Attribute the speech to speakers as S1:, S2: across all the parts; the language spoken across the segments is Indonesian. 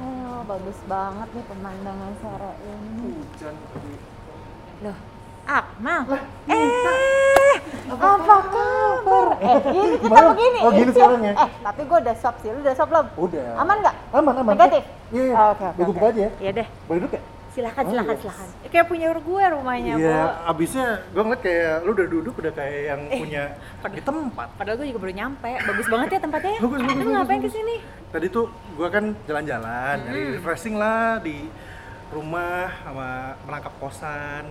S1: Oh, bagus banget nih pemandangan sore ini.
S2: Hujan.
S1: Loh, Akmal. Eh, apa kabar? Eh, ini kita
S2: Baru-
S1: begini.
S2: oh, gini
S1: Cium.
S2: sekarang ya?
S1: Eh, tapi gue udah swab sih. Lu udah swab belum?
S2: Udah.
S1: Aman nggak?
S2: Aman, aman.
S1: Negatif?
S2: Iya, iya.
S1: Oh, Oke, oke.
S2: Biar gue
S1: oke.
S2: buka aja ya.
S1: Iya deh.
S2: Boleh duduk ya?
S1: Silakan,
S2: Oh,
S1: silakan,
S2: iya.
S1: silakan. Kayak punya gue rumahnya,
S2: Iya, abisnya gue ngeliat kayak lu udah duduk udah kayak yang
S1: Eh,
S2: punya di tempat.
S1: Padahal gue juga baru nyampe. Bagus banget ya tempatnya. ya.
S2: Bagus, bagus,
S1: Lu
S2: bagus,
S1: ngapain
S2: bagus.
S1: kesini?
S2: Tadi tuh gue kan jalan-jalan, nyari refreshing lah di rumah sama merangkap kosan.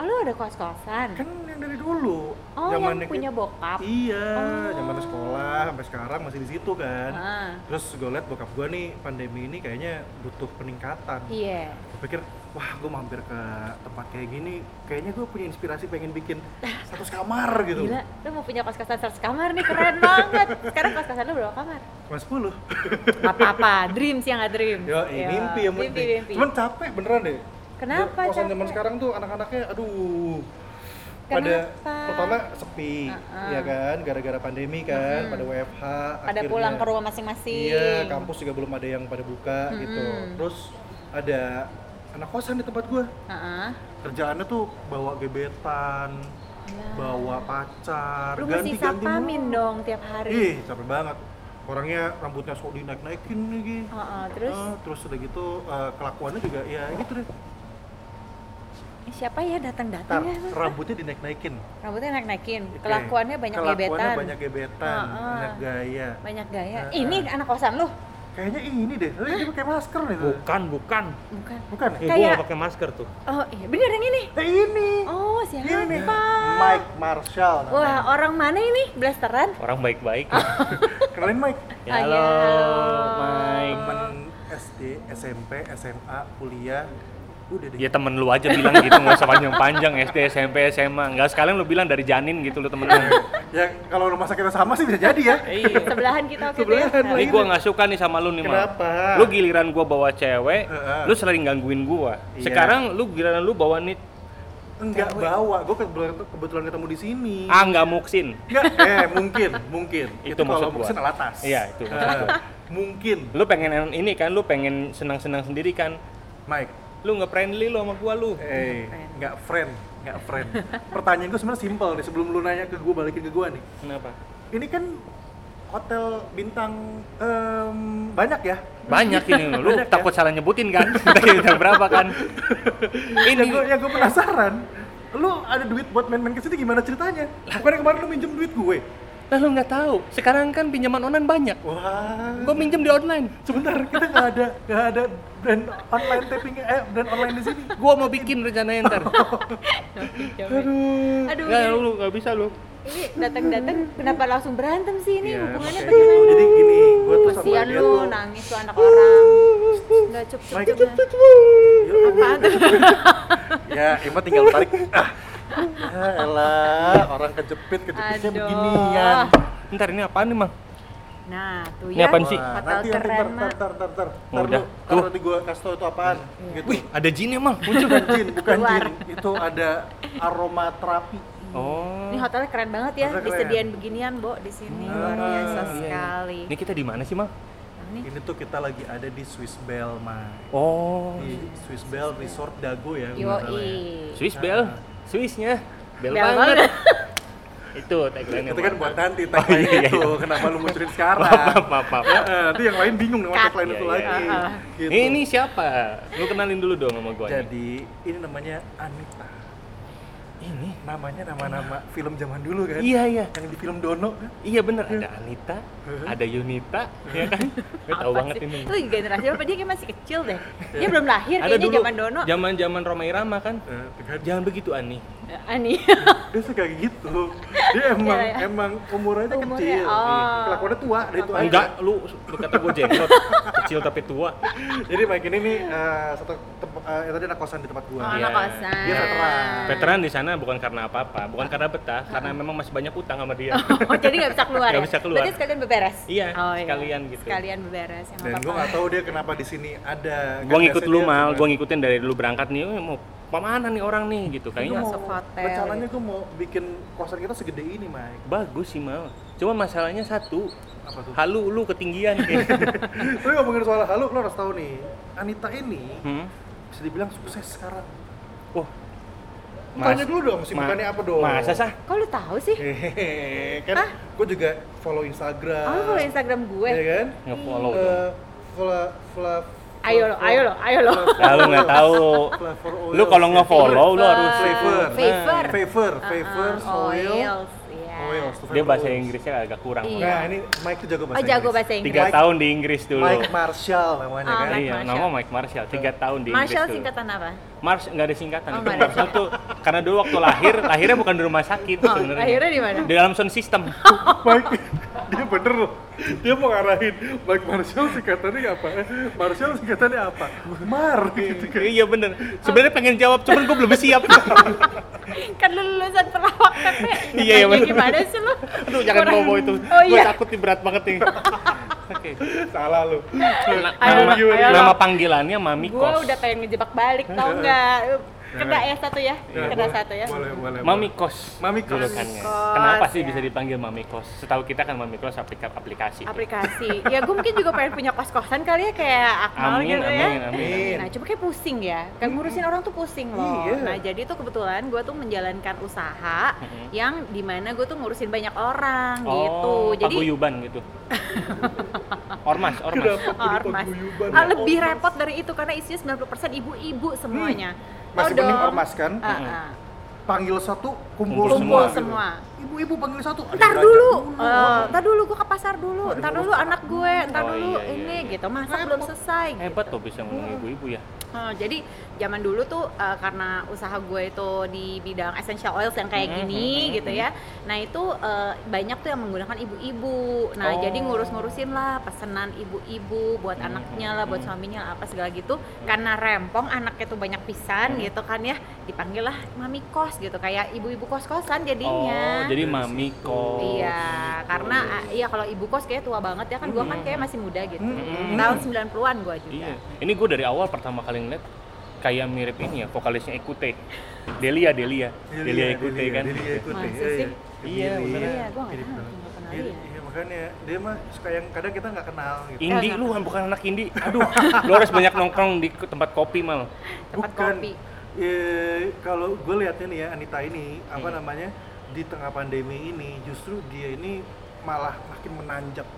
S1: Oh, lu ada kos-kosan?
S2: Kan yang dari dulu.
S1: Mm. Oh,
S2: zamannya
S1: yang punya
S2: kayak-
S1: bokap.
S2: Iya,
S1: Oh.
S2: zaman sekolah sampai sekarang masih di situ kan.
S1: Ah,
S2: Terus gue liat bokap gue nih pandemi ini kayaknya butuh peningkatan.
S1: Iya.
S2: Gue pikir, wah gue mampir ke tempat kayak gini, kayaknya gue punya inspirasi pengen bikin satu kamar gitu.
S1: Gila, lu mau punya kos-kosan seratus kamar nih, keren banget. Sekarang kos-kosan lu berapa kamar?
S2: Cuma 10.
S1: Apa-apa, dreams yang nggak dream.
S2: Yo,
S1: Iya,
S2: ini mimpi yang penting.
S1: mimpi.
S2: Cuman capek beneran deh.
S1: Kenapa
S2: Kosan zaman
S1: capek?
S2: sekarang tuh anak-anaknya aduh.
S1: Kenapa?
S2: Pada pertama sepi,
S1: Heeh.
S2: ya kan, gara-gara pandemi kan,
S1: Mm-mm.
S2: pada WFH.
S1: Pada
S2: akhirnya-
S1: pulang ke rumah masing-masing.
S2: Iya, kampus juga belum ada yang pada buka gitu.
S1: Mm-mm.
S2: Terus ada anak kosan di tempat gue.
S1: Heeh.
S2: Kerjaannya tuh bawa gebetan,
S1: Lah.
S2: bawa pacar,
S1: Lu mesti
S2: ganti-ganti
S1: sapamin
S2: mulu. Iya.
S1: dong tiap hari.
S2: Ih, capek banget. Orangnya rambutnya sok dinaik-naikin lagi.
S1: Heeh, terus Iya,
S2: Ah, terus udah gitu eh, kelakuannya juga ya gitu deh.
S1: eh, siapa ya datang-datang
S2: Tar,
S1: ya?
S2: rambutnya dinaik-naikin.
S1: Rambutnya naik-naikin,
S2: Oke.
S1: kelakuannya banyak
S2: Kelakuannya
S1: gebetan.
S2: banyak Nah. gebetan,
S1: Ah, ah.
S2: banyak gaya.
S1: Banyak gaya.
S2: Heeh.
S1: Ini anak kosan lu?
S2: Kayaknya ini deh, eh, dia pakai masker nih. tuh.
S3: Bukan, bukan.
S1: Bukan.
S2: Bukan.
S3: Eh,
S1: Kayak-
S3: gua gak pakai masker tuh.
S1: Oh, iya, bener yang ini.
S2: Eh, ini.
S1: Oh,
S2: Ini nih,
S1: siapa?
S2: Mike Marshall. namanya.
S1: Wah, orang mana ini? Blasteran?
S3: Orang baik-baik.
S2: Kenalin Mike.
S3: ya,
S1: Ah,
S3: halo,
S1: iya.
S3: Mike.
S2: Temen SD, SMP, SMA, kuliah. Udah deh.
S3: Ya temen lu aja bilang gitu, nggak usah panjang-panjang SD, SMP, SMA. Nggak sekalian lu bilang dari janin gitu lu temen lu.
S2: Ya kalau rumah sakitnya sama sih bisa jadi ya.
S3: Iya.
S1: Sebelahan kita waktu itu ya.
S2: Sebelahan
S3: Ini gua nggak suka nih sama lu nih, Mal.
S2: Kenapa?
S3: Lu giliran gua bawa cewek,
S2: Heeh.
S3: lu sering gangguin gua.
S2: Iya.
S3: Sekarang lu giliran lu bawa nih,
S2: Enggak bawa. Gue kebetulan, kebetulan ketemu di sini.
S3: ah nggak muksin.
S2: Enggak, eh mungkin, mungkin.
S3: Itu
S2: kalau
S3: maksud gua.
S2: mungkin alatas.
S3: Iya, itu maksud gua.
S2: Eh, mungkin,
S3: Lu pengen ini kan, lu pengen senang-senang sendiri kan.
S2: Mike.
S3: Lu nggak friendly lu sama gua lu.
S2: Eh, enggak friend, enggak friend. Pertanyaan gue sebenarnya simpel nih sebelum lu nanya ke gue balikin ke gue nih.
S3: Kenapa?
S2: Ini kan hotel bintang em, banyak ya.
S3: Banyak ini lu, lu
S2: Banyak ya?
S3: takut salah nyebutin kan? Tadi udah berapa kan?
S2: Yang
S3: Ini
S2: gue yang gua penasaran, lu ada duit buat main-main ke situ gimana ceritanya? Bukannya kemarin lu minjem duit gue?
S3: lah lu nggak tahu. Sekarang kan pinjaman online banyak.
S2: Wah,
S3: Gua minjem di online.
S2: sebentar kita nggak ada nggak ada brand online taping eh brand online di sini.
S3: Gua mau bikin rencananya ntar.
S2: Aduh.
S1: Aduh, iya.
S3: Nggak, lu nggak bisa lu.
S1: ya. ini datang-datang kenapa langsung berantem sih ini?
S2: Iya,
S1: Hubungannya
S2: makanya
S1: bagaimana?
S2: gitu. Jadi gini, gue tuh sama
S1: Kasihan
S2: dia
S1: lu,
S2: tuh.
S1: nangis lu anak orang. Enggak cukup.
S2: Mike.
S1: cukup.
S2: Ya,
S1: Apaan tuh?
S2: ya, Ima tinggal tarik. Ah. Ya elah, orang kejepit, kejepitnya
S1: Aduh.
S2: beginian.
S1: Ah.
S3: Ya, Ntar ini apaan nih, Mang?
S1: Nah, tuh
S3: Ini
S1: ya.
S3: apaan sih?
S2: Wah,
S1: Hotel
S2: nanti nanti
S1: keren,
S2: ntar ntar
S1: Mak.
S2: ntar ntar ntar
S3: Oh,
S2: ntar
S3: udah.
S2: lu ntar nanti gue kasih tau itu apaan gitu
S3: Wih, ada jinnya, Mang.
S2: itu bukan jin bukan
S1: Iya. Keluar.
S2: jin itu ada aroma terapi
S3: Oh.
S1: Ini hotelnya keren banget ya,
S2: Hotelnya keren.
S1: disediain beginian, Bo, di sini.
S2: Hmm.
S1: Luar biasa
S2: Iya, iya.
S1: sekali.
S3: Ini kita di mana sih, Mang?
S1: Nah, Ini
S2: ini tuh kita lagi ada di Swiss Bell Mai
S3: Oh.
S2: di Swiss Bell Resort Dago ya kalau nggak salah
S1: Yoi.
S2: ya.
S3: Swiss Bell. Swissnya bel
S1: Bel
S3: banget. Itu tagline-nya.
S2: itu kan
S3: Mang.
S2: buat nanti tagline
S3: ya, iya, iya.
S2: itu kenapa lu munculin
S3: Maaf,
S2: sekarang
S3: maaf, maaf, maaf.
S2: Ya, eh, nanti yang lain bingung dengan
S1: Cut.
S2: tagline itu
S3: Iya, iya,
S2: lagi
S1: iya.
S2: gitu.
S3: Ini, ini siapa? Lu kenalin dulu dong sama gua. nih.
S2: jadi ini namanya Anita
S3: ini.
S2: namanya nama-nama film zaman dulu kan
S3: Iya, iya.
S2: yang di film Dono kan
S3: Iya bener, ada Anita, ada Yunita, ya kan? Gue
S1: apa
S3: tahu banget
S1: sih?
S3: ini.
S1: Lu generasi apa? Dia kayak masih kecil deh. Dia belum lahir
S3: Ada
S1: Iya, kayaknya
S3: dulu,
S1: zaman Dono.
S3: zaman-zaman Roma Irama kan?
S2: Eh, kan
S3: Jangan begitu Ani.
S1: Eh, Ani.
S2: dia suka kayak gitu dia emang
S1: Iya, iya.
S2: emang umurnya tuh
S1: Umurnya,
S2: kecil Iya.
S1: oh.
S2: kelakuannya tua dari itu aja
S3: Enggak, lu lu kata gue jenglot, kecil tapi tua.
S2: jadi Mike ini nih eh, satu tempat eh, tadi anak kosan di tempat gua
S1: Oh,
S3: Iya.
S1: anak kosan.
S2: Nah, Dia veteran.
S1: Ah.
S3: Veteran di sana bukan karena apa-apa, bukan karena betah, karena memang masih banyak utang sama dia.
S1: Oh, jadi nggak bisa keluar.
S3: Nggak
S1: ya?
S3: bisa keluar.
S1: Berarti sekalian beberes. Oh,
S3: Iya, sekalian gitu.
S1: Sekalian beberes. yang
S2: dan gua nggak tahu dia kenapa di sini ada
S3: Gue ngikut lu mal,
S2: mal
S3: gue ngikutin dari dulu berangkat nih, "Eh, mau kemana nih orang nih gitu
S1: Iya.
S3: kayaknya
S1: Masuk hotel.
S2: rencananya gua mau bikin kosan kita segede ini Mike
S3: bagus sih mal cuma masalahnya satu
S2: Apa tuh?
S3: Halu lu ketinggian kayak. gitu.
S2: Tapi ngomongin soal halu, lo harus tahu nih, Anita ini
S3: Hmm?
S2: bisa dibilang sukses sekarang.
S3: Wah.
S2: Tanya dulu dong, sibukannya apa dong?
S3: Masa sah?
S1: Kok lu tahu sih?
S2: Eh, Hehehe, kan
S1: Hah?
S2: gue juga follow Instagram.
S1: Oh, lu follow Instagram gue.
S2: Ya kan?
S3: Nge-follow
S2: Eh,
S3: dong.
S2: Follow, follow,
S1: Ayo lo, ayo lo, ayo lo.
S3: Ya lu nggak tahu.
S2: Flavor oil.
S3: Lu kalau nge-follow lu harus
S2: Favor.
S1: Favor.
S2: Favor,
S1: Uh-uh,
S2: favor, oil,
S1: oils. Iya.
S2: oils, tuh
S3: dia
S2: favor
S3: bahasa
S2: oils.
S3: Inggrisnya agak kurang.
S1: Iya.
S2: Nah, ini Mike tuh jago bahasa
S1: Oh, jago
S2: Inggris.
S1: bahasa Inggris.
S3: Tiga
S2: Mike-
S3: tahun di Inggris dulu.
S2: Mike Marshall namanya
S1: Oh,
S2: kan.
S1: Mike
S3: Iya,
S1: Marshall.
S3: nama Mike Marshall. Tiga tahun di Inggris
S1: Marshall
S3: dulu.
S1: singkatan apa?
S3: Mars nggak ada singkatan.
S1: Oh,
S3: itu
S1: nggak ada
S3: Marshall tuh karena dulu waktu lahir, lahirnya bukan di rumah sakit
S1: Oh,
S3: sebenarnya.
S1: lahirnya di mana? Oh,
S3: Di dalam sound system.
S2: Mike, dia bener loh. Dia mau ngarahin Mike Marshall singkatannya apa? Eh, Marshall singkatannya apa? Mar gitu kan.
S3: Iya bener. Sebenarnya pengen jawab, cuman gue belum siap.
S1: Kan lu lulusan perawatan ya.
S3: Iya, iya,
S1: Nanya
S3: bener.
S1: Gimana sih lu?
S3: Aduh jangan
S1: Kurang-
S3: bawa itu.
S1: Oh
S3: Gue
S1: iya.
S3: takut nih berat banget nih. Oke.
S2: Salah lu.
S3: Na-
S1: Ayo,
S3: Nama,
S1: ayo, ayo.
S3: nama panggilannya Mami
S1: Gue
S3: Kos.
S1: udah pengen ngejebak balik
S2: Eh,
S1: tau nggak? Kena ya satu ya,
S2: Ya,
S1: kena
S2: boleh,
S1: satu ya.
S2: Boleh, boleh.
S3: Mami Kos.
S2: Mami Kos.
S1: Mami
S3: julukannya.
S1: Kos,
S3: Kenapa sih
S1: ya.
S3: bisa dipanggil Mami Kos? Setahu kita kan Mami Kos aplika- aplikasi.
S1: Aplikasi. Ya gue mungkin juga pengen punya kos-kosan kali ya kayak Akmal
S3: Amin,
S1: gitu ya.
S3: amin, amin.
S1: Nah, cuma kayak pusing ya. Kan ngurusin orang tuh pusing loh.
S2: Iya.
S1: Nah, jadi tuh kebetulan gue tuh menjalankan usaha
S3: Mhm.
S1: yang dimana gue tuh ngurusin banyak orang gitu.
S3: Oh,
S1: Jadi
S3: paguyuban gitu. Ormas, ormas.
S2: Kenapa jadi
S1: ormas.
S2: paguyuban
S1: Ah,
S2: ya?
S1: lebih
S2: Ormas.
S1: repot dari itu karena isinya 90% ibu-ibu
S3: Hmm,
S1: semuanya.
S2: Masih
S1: Tau
S2: mending
S1: Oh, dong.
S2: ormas kan?
S1: Ah, ah.
S2: Panggil satu, kumpul,
S3: Kumpul
S2: semua.
S1: semua. semua.
S2: gitu. Ibu-ibu panggil satu. ada
S1: Ntar
S2: yang
S1: dulu,
S2: raja
S1: eh, ntar dulu gue ke pasar dulu,
S2: Waduh,
S1: ntar dulu
S2: ngurus
S1: anak gue, ntar
S3: Oh,
S1: dulu
S3: iya, iya,
S1: ini
S3: iya.
S1: gitu, masak belum selesai. gitu.
S3: Hebat tuh bisa ngomong ibu-ibu ya.
S1: Oh, jadi zaman dulu tuh eh, karena usaha gue itu di bidang essential oils yang kayak
S3: Mhm,
S1: gini
S3: mhm,
S1: gitu ya. Nah itu eh, banyak tuh yang menggunakan ibu-ibu. Nah
S3: Oh.
S1: jadi ngurus-ngurusin lah pesanan ibu-ibu buat
S3: Mhm,
S1: anaknya lah, buat
S3: mhm.
S1: suaminya lah, apa segala gitu. Karena rempong anaknya tuh banyak pisan
S3: Mm-hmm.
S1: gitu kan ya. Dipanggil lah mami kos gitu kayak ibu-ibu kos-kosan
S3: Oh,
S1: jadinya.
S3: jadi Oh,
S2: Dari
S3: Mami
S2: situ.
S3: Kos.
S1: Iya, karena ah, iya kalau ibu kos kayak tua banget ya kan, gua kan kayak masih muda gitu.
S2: Mhm.
S1: Tahun 90-an gua juga.
S3: Mm-hmm. Iya. Ini gue dari awal pertama kali ngeliat kayak mirip ini ya vokalisnya Ekute. Delia, Delia.
S2: Iya,
S3: Delia, Ekute
S2: Delia,
S3: kan.
S2: Delia Ikute.
S1: Masa
S2: iya,
S1: sih?
S3: Iya,
S2: Iya,
S3: beneran.
S1: Iya, gua nggak
S2: Mirip
S1: tahu,
S2: banget.
S1: nggak pernah
S2: Iya,
S1: lihat.
S2: iya, makanya dia mah suka yang kadang kita nggak kenal gitu.
S3: Indi lu kan bukan anak Indi. Aduh, lu harus banyak nongkrong di tempat kopi mal.
S1: Tempat
S2: Bukan.
S1: kopi.
S2: Eh, kalau gue lihatnya nih ya Anita ini apa
S3: Hmm.
S2: namanya di tengah pandemi ini justru dia ini malah makin menanjak.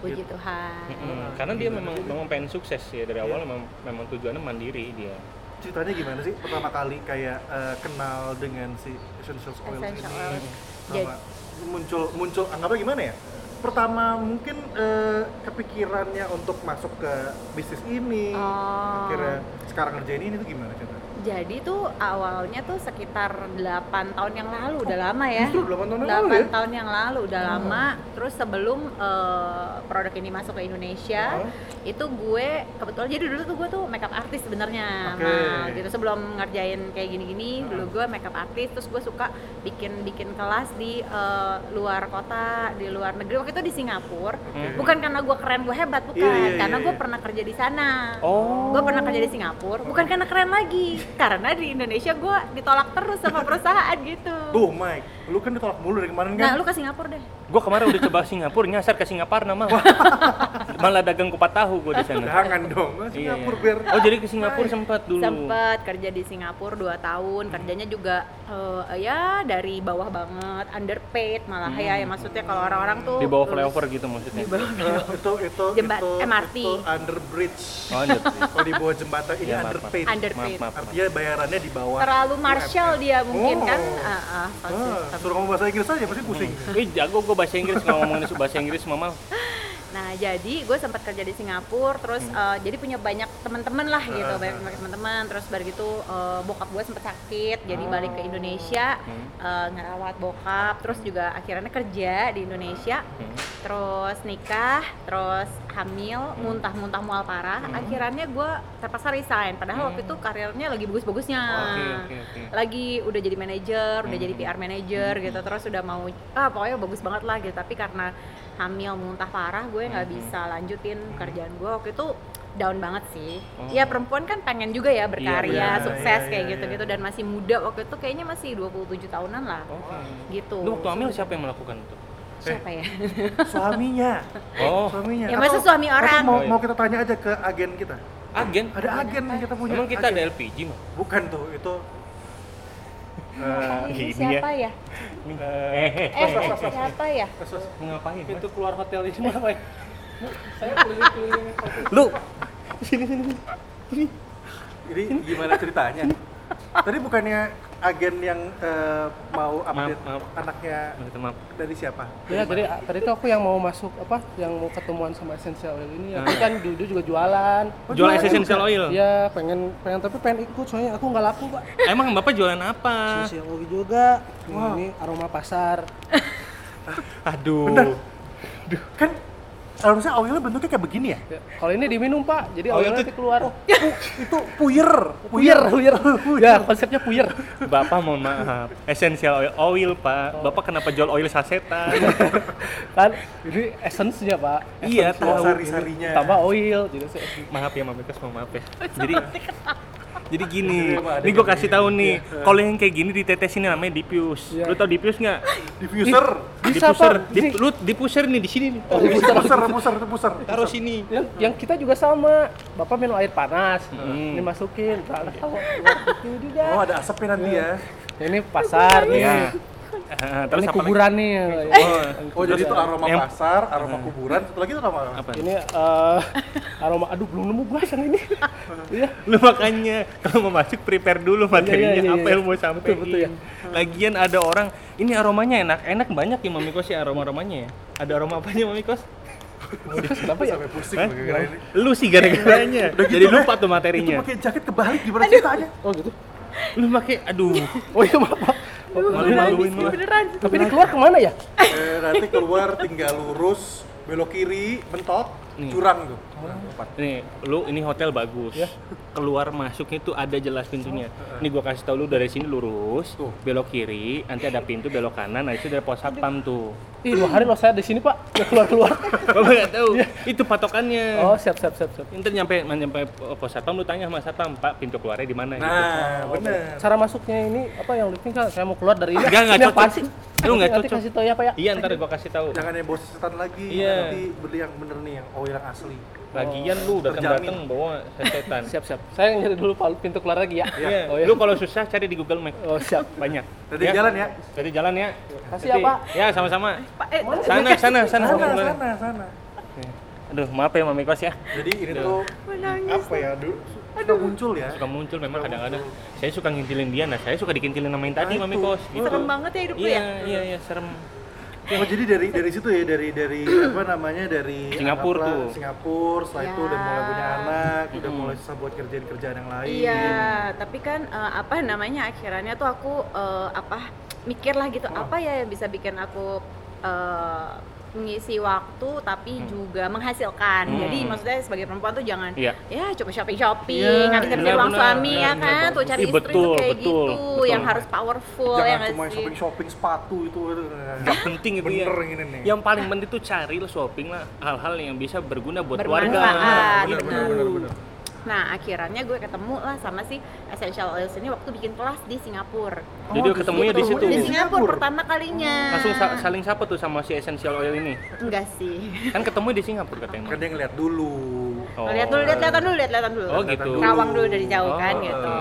S1: Puji
S2: Gitu.
S1: Tuhan.
S3: Mm-mm, Karena dia memang memang pengen sukses ya dari awal memang, memang tujuannya mandiri dia.
S2: Ceritanya gimana sih pertama kali kayak eh, kenal dengan si essentials oil
S1: Essential
S2: ini?
S1: oils. Iya.
S2: Sama muncul muncul anggapnya gimana ya? Pertama mungkin eh, kepikirannya untuk masuk ke bisnis ini.
S1: Oh.
S2: Akhirnya sekarang ngerjain ini tuh gimana
S3: Hmm.
S2: cerita?
S1: Jadi tuh awalnya tuh sekitar 8 tahun yang lalu, udah lama ya.
S2: Oh, Justru 8 tahun yang lalu
S1: 8
S2: ya?
S1: tahun yang lalu, udah lama. Terus sebelum eh, produk ini masuk ke Indonesia,
S2: Oh.
S1: itu gue kebetulan jadi dulu tuh gue tuh makeup artist sebenarnya.
S2: Oke.
S1: Nah, gitu sebelum ngerjain kayak gini-gini,
S2: Oh.
S1: dulu gue makeup artist, terus gue suka bikin-bikin kelas di eh, luar kota, di luar negeri. Waktu itu di Singapura.
S2: Oke.
S1: Bukan karena gue keren, gue hebat, bukan.
S2: Iya, iya, iya,
S1: karena gue
S2: iya.
S1: pernah kerja di sana
S3: Oh.
S1: gue pernah kerja di Singapura bukan karena keren lagi karena di Indonesia gue ditolak terus sama perusahaan gitu
S2: Tuh Mike, lu kan ditolak mulu dari kemarin
S1: nah
S2: kan?
S1: lu ke Singapura deh
S3: Gue kemarin udah coba Singapura, nyasar ke Singapura nama. Malah dagang kupat tahu gue di sana.
S2: Jangan dong,
S3: Iya,
S2: Singapura
S3: iya.
S2: biar
S3: Oh, jadi ke Singapura sempat dulu.
S1: sempet kerja di Singapura 2 tahun
S3: Hmm.
S1: kerjanya juga eh, ya dari bawah banget underpaid malah ya, ya maksudnya kalau orang-orang tuh
S3: Hmm. Di bawah
S1: lulus-
S3: flyover gitu maksudnya.
S2: Eh, itu itu
S1: Jembat-
S2: itu,
S1: MRT.
S2: itu under bridge
S3: Oh, lanjut.
S2: kalau di bawah jembatan ini
S3: Iya, maaf,
S2: underpaid
S1: maaf. Under-
S3: Maaf, maaf.
S2: artinya bayarannya di bawah
S1: terlalu martial dia mungkin
S2: Oh.
S1: kan Ah, ah, sound
S2: Ah,
S1: system.
S2: suruh ngomong bahasa Inggris aja pasti pusing
S3: Ih, jago gue bahasa Inggris kalau ngomongin bahasa Inggris mama.
S1: Nah, jadi gue sempat kerja di Singapura, terus
S3: Hmm.
S1: eh, jadi punya banyak teman-teman lah gitu,
S2: Ah,
S1: banyak
S2: ah.
S1: banyak teman-teman. Terus baru gitu eh, bokap gue sempat sakit, jadi balik ke Indonesia
S3: Hmm.
S1: eh, ngerawat bokap. Terus juga akhirnya kerja di Indonesia, terus nikah, terus hamil,
S3: Hmm.
S1: muntah-muntah mual parah. Akhirnya gue terpaksa resign. Padahal waktu itu karirnya lagi bagus-bagusnya
S3: Hmm. Oke, oke, oke.
S1: lagi udah jadi manajer, udah jadi PR manajer gitu, terus udah mau ah pokoknya bagus banget lah gitu, tapi karena hamil muntah parah gue nggak bisa lanjutin kerjaan gue waktu itu down banget sih.
S3: Oh.
S1: Iya perempuan kan pengen juga ya berkarya,
S3: benar.
S1: sukses
S2: Iya,
S1: kayak
S2: iya,
S1: gitu-gitu dan masih muda waktu itu kayaknya masih 27 tahunan lah.
S3: Oke.
S1: Gitu.
S3: Lu waktu hamil siapa yang melakukan itu?
S1: siapa ya?
S2: Suaminya.
S3: Oh,
S2: Suaminya.
S1: Ya, masa
S2: Atau-
S1: suami
S2: atau
S1: orang.
S2: Mau,
S3: Oh, iya.
S2: mau kita tanya aja ke agen kita.
S3: agen.
S2: Ada agen yang kita punya.
S3: Emang kita ada
S2: agen. Eh.
S3: LPG mah?
S2: Bukan tuh, itu
S1: Aduh, ini
S3: ini
S1: siapa ya?
S3: Eh,
S1: Eh, siapa ya?
S3: ngapain?
S4: Pintu keluar hotel ini mah Pak. Saya keliling-keliling hotel.
S3: Lu sini sini. sini.
S2: Jadi gimana ceritanya? Tadi bukannya agen yang eh, mau update
S3: maaf.
S2: anaknya
S3: Minta Maaf.
S2: dari siapa?
S4: Ya, tadi tadi tuh aku yang mau masuk apa? Yang mau ketemuan sama Essential Oil ini.
S3: Ah.
S4: Aku kan dulu juga jualan.
S2: Oh,
S3: Jual
S2: jualan
S3: essential oil.
S4: Ya, pengen pengen tapi pengen ikut soalnya aku nggak laku, Pak.
S3: Emang Bapak jualan apa?
S4: Sosiologi juga.
S2: Wow.
S4: Ini aroma pasar.
S3: Aduh.
S2: Bentar. Kan harusnya awalnya bentuknya kayak begini ya?
S4: Ya, Kalau ini diminum, Pak. Jadi
S3: Oh,
S4: oilnya
S3: itu-
S4: nanti keluar.
S2: Pu- itu puyer,
S4: Puyer, puyer. Ya, konsepnya puyer.
S3: Bapak mohon maaf. Essential oil, oil Pak. Bapak kenapa jual oil sasetan?
S4: Kan ini essence-nya, Pak.
S3: iya,
S2: Oh,
S3: tahu.
S2: sari-sarinya.
S4: Tambah oil, jadi saya
S3: Maaf ya, Mamikas, mohon maaf ya. Jadi jadi gini,
S2: Jadi emang ada
S3: ini gue
S2: kayak
S3: kasih tahu nih, kalau yang kayak gini ditetesin namanya dipius.
S4: Iya.
S3: Lu tau dipius nggak?
S2: diffuser,
S4: Bisa,
S3: Dipuser,
S4: Pak.
S3: dip,
S4: Ini-
S3: lu dipuser nih di sini nih.
S4: Oh,
S2: puser, puser,
S4: dipuser.
S2: puser, puser.
S3: Taruh sini.
S4: yang, yang kita juga sama bapak minum air panas
S3: Hmm. Iya.
S4: ini masukin tak tahu itu juga
S2: Oh ada asapnya nanti ya.
S4: ini pasar nih
S3: Iya. Ah, terus
S4: ini
S3: apa lagi?
S4: kuburan nih
S3: Oh,
S2: Oh jadi itu aroma
S3: Yang-
S2: pasar, aroma kuburan, satu lagi itu aroma apa?
S3: apa?
S4: ah, ini eh, aroma aduh belum nemu gua yang ini iya
S3: Lu makanya kalau mau masuk prepare dulu materinya
S4: iya, iya,
S3: apa
S4: iya.
S3: yang mau sampai.
S4: Betul, betul, ya.
S3: Lagian ada orang, ini aromanya enak, enak banyak ya Mami Kos ya aroma-aromanya ya. Ada aroma apanya Mami Kos?
S4: kenapa ya
S2: Sampai pusing
S3: Hah? Iya.
S2: gue gara-gara ini.
S3: Lu sih gara-garanya.
S2: Udah gitu,
S3: Jadi lupa
S2: Beh.
S3: tuh
S2: Itu
S3: materinya.
S2: pakai jaket kebalik gimana ceritanya?
S4: oh gitu
S3: Lu pakai aduh,
S4: oh iya maaf Pak. Oh,
S1: Aduh,
S4: malu,
S1: beneran,
S4: malu.
S3: malu-maluin
S1: Rizky,
S3: lah.
S1: beneran.
S4: tapi ini keluar kemana ya
S2: eh, nanti keluar tinggal lurus, belok kiri, mentok,
S3: Nih. Oh.
S2: jurang tuh. Nah, Empat.
S3: Nih, lu ini hotel bagus. Keluar masuknya tuh ada jelas pintunya. Ini gua kasih tau lu dari sini lurus,
S2: Tuh.
S3: belok kiri, nanti ada pintu belok kanan, nah itu dari pos satpam tuh.
S4: Ih, dua hari loh saya di sini pak nggak keluar keluar
S3: Bapak nggak tahu. Itu patokannya.
S4: oh siap siap siap siap
S3: Ntar nyampe nyampe pos satpam lu tanya sama satpam, "Pak, pintu keluarnya di mana?"
S2: Nah,
S3: Oh,
S2: bener.
S4: cara masuknya ini apa yang lifting kan saya mau keluar dari ini
S3: Enggak, enggak
S4: Ini apaan
S3: cocok.
S4: sih?
S3: Lu nggak
S4: Nanti
S3: cocok.
S4: kasih tau ya pak ya
S3: Iya, ntar gua kasih tahu.
S2: Jangan yang bawa setan lagi,
S3: Iya.
S2: nanti beli yang bener nih, yang oil yang asli.
S3: Lagian lu datang-datang bawa setan.
S4: siap siap saya nyari dulu Pak, pintu keluar lagi ya
S3: Iya.
S4: oh iya
S3: Lu kalau susah cari di Google Map.
S4: oh siap
S3: Banyak.
S2: Nanti jalan ya.
S3: Jadi jalan ya.
S4: Kasih ya, Pak.
S3: Ya, sama-sama.
S1: Pak, eh,
S3: Sana, sana, sana.
S2: Sana,
S3: Sana.
S2: sana, sana.
S3: Aduh, maaf ya Mami Kos ya.
S2: Jadi ini tuh
S1: menangis.
S2: apa ya, aduh, suka muncul ya.
S3: Suka muncul memang kadang-kadang. Saya suka ngintilin dia, nah saya suka dikintilin sama yang tadi
S2: Nah,
S3: Mami
S2: itu.
S3: Kos. Gitu.
S1: Serem banget ya hidup lu
S3: Iya,
S1: ya?
S3: iya, iya, serem.
S2: Oh jadi dari dari situ ya dari dari apa namanya dari
S3: Singapura
S2: anggaplah
S3: tuh.
S2: Singapura setelah itu
S1: Ya.
S2: udah mulai punya anak udah
S3: Mm-mm.
S2: mulai susah buat kerjaan kerjaan yang lain
S1: Iya, tapi kan eh, apa namanya akhirannya tuh aku eh, apa mikir lah gitu apa ya yang bisa bikin aku eh, mengisi waktu tapi juga menghasilkan.
S3: Hmm.
S1: Jadi maksudnya sebagai perempuan tuh jangan
S3: Iya.
S1: ya cuma shopping shopping,
S2: Iya,
S1: nanti kerja
S3: benar,
S1: uang
S3: benar,
S1: suami
S3: benar,
S1: ya
S3: benar,
S1: kan, tuh
S3: bagus.
S1: cari
S3: Ih,
S1: istri
S3: betul,
S1: tuh kayak
S3: betul,
S1: gitu,
S3: betul.
S1: yang harus powerful ya
S2: jangan
S1: nggak
S2: cuma
S1: sih?
S2: shopping shopping sepatu itu Nah,
S3: Gak penting itu
S2: bener
S3: ya.
S2: yang ini nih
S3: Yang paling penting tuh cari lo shopping lah hal-hal yang bisa berguna buat keluarga.
S1: Bermanfaat,
S2: Bener, bener,
S1: gitu.
S2: bener, bener.
S1: Nah, akhirnya gue ketemu lah sama si Essential Oils ini waktu bikin kelas di Singapura.
S3: Jadi
S2: Oh,
S3: ketemunya di situ.
S2: ketemunya
S1: gitu. Di
S2: Singapura.
S1: Singapura pertama kalinya.
S3: Langsung sa- saling sapa tuh sama si essential oil ini.
S1: Enggak sih.
S3: Kan ketemu di Singapura
S2: kan
S3: katanya.
S2: dia ngeliat dulu
S1: Oh, lihat dulu, lihat liatan dulu, lihat liatan dulu.
S3: Oh, gitu.
S1: Rawang dulu dari jauh kan
S3: Oh.
S1: gitu.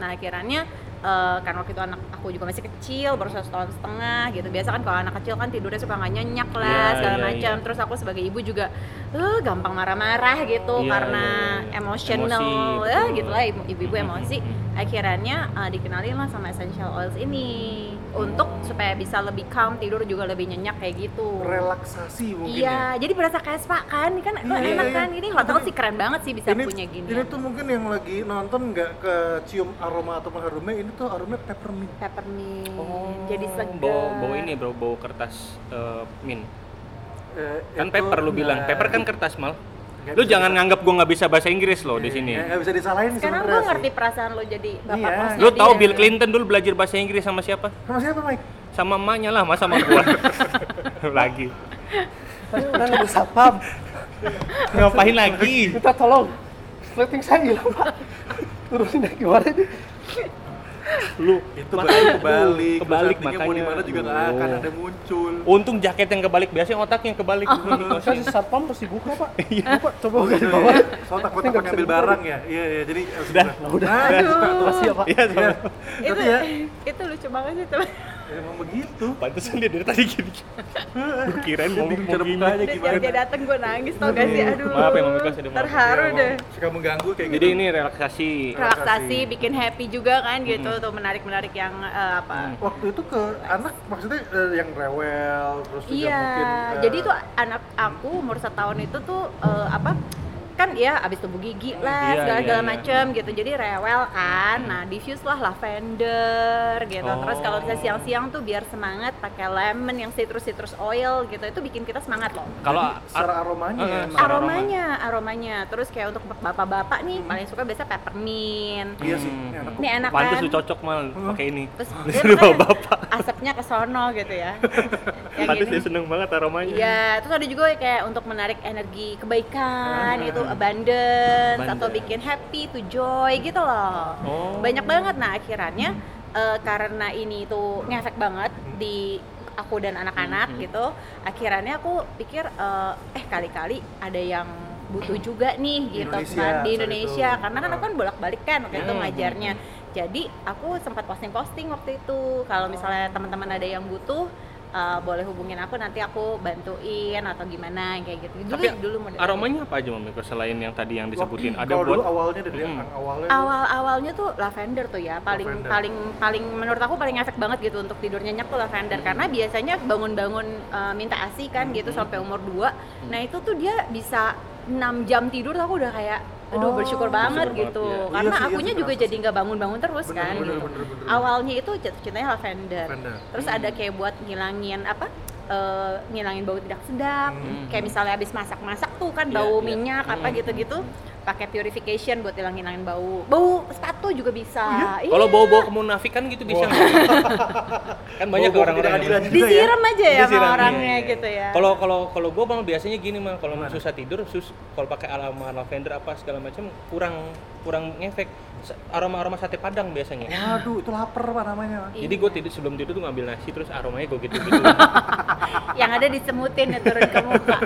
S1: Nah, akhirnya eh, karena waktu itu anak aku juga masih kecil, baru satu tahun setengah gitu. Biasa kan kalau anak kecil kan tidurnya suka nggak nyenyak lah,
S3: Iya,
S1: segala
S3: iya,
S1: macam.
S3: iya.
S1: Terus aku sebagai ibu juga eh gampang marah-marah gitu
S3: Iya,
S1: karena
S3: iya, iya.
S1: emotional
S3: Emosi,
S1: ya
S3: betul.
S1: gitu lah ibu- ibu-ibu
S3: Mhm,
S1: emosi.
S3: mhm.
S1: Akhirnya eh, dikenalin lah sama essential oils ini untuk supaya bisa lebih calm, tidur juga lebih nyenyak kayak gitu.
S2: relaksasi mungkin ya.
S1: Iya, jadi berasa kayak spa kan, kan
S2: Iya,
S1: enak
S2: iya.
S1: kan. Ini hotel sih keren banget sih
S2: ya.
S1: bisa
S2: ini,
S1: punya gini.
S2: ini tuh mungkin yang lagi nonton nggak kecium aroma ataupun harumnya ini tuh aromanya peppermint
S1: peppermint, Hmm,
S2: Oh,
S1: jadi segar.
S3: Oh, Bawa, bawa ini bro, bawa kertas eh, min.
S2: Eh, itu-
S3: Kan paper lu
S2: nah,
S3: bilang, paper kan kertas mal.
S2: nggak
S3: Lu
S2: bisa-
S3: jangan nganggap gua nggak bisa bahasa Inggris loh di sini.
S2: nggak nggak bisa disalahin
S1: Sekarang
S2: sebenarnya
S1: gue
S2: sih.
S1: ngerti perasaan lo jadi bapak
S2: Iya.
S1: kosnya
S3: Lu tahu
S1: dia.
S3: Bill Clinton dulu belajar bahasa Inggris sama siapa?
S2: sama siapa Mike
S3: Sama emaknya lah, masa sama gua. lagi.
S4: kan udah sapam
S3: Ngapain lagi?
S4: minta tolong rating saya hilang pak turunin dari kemarin
S3: lu
S2: itu makanya kebalik,
S3: Aduh, kebalik
S2: Terus artinya
S3: makanya Oh.
S2: mau di mana juga nggak akan
S3: Aduh.
S2: ada muncul.
S3: untung jaket yang kebalik biasanya otaknya yang
S1: Oh.
S3: kebalik
S4: Kan satpam pasti buka pak. Buka coba
S3: Oh,
S4: buka di
S2: Iya,
S4: bawah.
S2: iya. Soalnya takut takut
S4: Ini nggak bisa
S2: ngambil
S4: dibuka.
S2: barang ya. Iya, iya. Jadi Nah,
S3: Udah,
S2: udah.
S4: Makasih ya pak.
S3: Nah. iya sama
S2: Tapi ya,
S1: itu lucu banget sih teman.
S2: emang begitu.
S3: pantesan dia dari tadi gini Gua kirain mau
S2: Bingung cara
S3: mau gini
S2: bukanya
S1: Dia
S2: gimana.
S1: dia dateng gue nangis tau gak sih? Aduh.
S3: Maaf ya, Mami Kos, ada maaf.
S1: Terharu
S2: Iya,
S1: deh.
S2: emang Suka mengganggu kayak gitu.
S3: jadi ini relaksasi
S1: Relaksasi, bikin happy juga kan gitu tuh menarik-menarik yang eh, apa?
S2: waktu itu ke anak maksudnya eh, yang rewel terus juga
S1: Iya,
S2: mungkin eh,
S1: jadi tuh anak aku umur setahun itu tuh eh, apa? Kan ya abis tubuh gigi lah, segala
S3: Iya,
S1: segala
S3: iya, Hmm. iya.
S1: macem gitu. Jadi rewel kan. Nah, diffuse lah lavender gitu. Terus kalau bisa
S3: Oh.
S1: siang-siang tuh biar semangat pakai lemon yang citrus citrus oil gitu. Itu bikin kita semangat loh.
S3: kalau
S2: secara aromanya
S3: Eh, eh,
S2: emang.
S3: secara-
S1: Aromanya, aromanya. Terus kayak untuk bapak-bapak nih paling suka biasa peppermint.
S2: iya sih ini
S3: Hmm.
S2: anak
S1: Ini enak
S3: pantas
S1: kan?
S3: lu cocok mal pakai ini
S1: Terus ya?
S3: disuruh bawa
S1: makanya
S3: bapak
S1: asapnya ke sono gitu ya. gitu. Kayak
S3: pantas
S1: gini.
S3: dia seneng banget aromanya
S1: Iya, terus ada juga kayak untuk menarik energi kebaikan gitu, abundance atau
S3: Abundance.
S1: bikin happy to joy gitu loh.
S3: Oh.
S1: Banyak banget nah akhirannya eh, karena ini tuh ngefek banget di aku dan anak-anak
S3: Mhm.
S1: gitu. Akhirannya aku pikir eh, eh kali-kali ada yang butuh juga nih
S2: Di
S1: gitu
S2: Indonesia,
S1: kan di
S2: saat
S1: Indonesia
S2: itu.
S1: karena kan aku kan bolak-balik kan waktu itu
S2: Ya.
S3: Mhm.
S1: ngajarnya. Jadi aku sempat posting-posting waktu itu. Kalau misalnya teman-teman ada yang butuh eh, boleh hubungin aku nanti aku bantuin atau gimana kayak gitu. Dulu
S3: Tapi
S1: dulu model
S3: aromanya apa aja mami Kos? selain yang tadi yang disebutin ada
S2: kalau dulu
S3: buat
S2: awalnya dari
S3: Hmm.
S2: yang awalnya lu-
S1: awal-awalnya tuh lavender tuh ya paling
S2: Lavender.
S1: paling paling menurut aku paling efek banget gitu untuk tidur nyenyak tuh
S2: Hmm.
S1: lavender karena biasanya bangun-bangun eh, minta asi kan gitu sampai umur 2.
S2: Hmm.
S1: Nah, itu tuh dia bisa 6 jam tidur tuh aku udah kayak aduh
S2: Oh.
S1: bersyukur banget
S3: Bersyukur
S1: gitu.
S3: banget,
S2: ya.
S1: Karena
S2: Iya sih, iya
S1: akunya
S2: sih,
S1: juga
S2: kerasa
S1: jadi nggak bangun-bangun terus
S2: Bener,
S1: kan
S2: bener,
S1: gitu.
S2: bener, bener, bener.
S1: Awalnya itu jatuh cintanya lavender.
S2: Lavender.
S1: Terus
S3: Hmm.
S1: ada kayak buat ngilangin apa? eh, ngilangin bau tidak sedap.
S2: Hmm.
S1: Kayak misalnya habis masak-masak tuh kan
S3: Iya,
S1: bau
S3: iya.
S1: minyak apa
S3: Hmm.
S1: gitu-gitu. Pakai purification buat hilangin-hilangin bau. Bau sepatu juga bisa. Iya.
S3: Oh, kalau bau-bau kemunafikan gitu bisa nggak? kan banyak
S2: Bau-bau
S3: orang-orang
S2: ketidakadilan
S3: yang-
S2: juga ya.
S1: Disiram aja ya sama
S3: Disiram,
S1: orangnya
S3: iya, iya.
S1: gitu ya.
S3: Kalau kalau kalau gue bang biasanya gini mah kalau susah tidur sus kalau pakai aroma lavender apa segala macam kurang kurang ngefek aroma aroma sate padang biasanya.
S2: waduh itu lapar pak namanya Pak.
S3: Jadi
S1: Iya.
S3: gue tidur sebelum tidur tuh ngambil nasi terus aromanya gue gitu gitu.
S1: yang ada disemutin ya turun ke muka.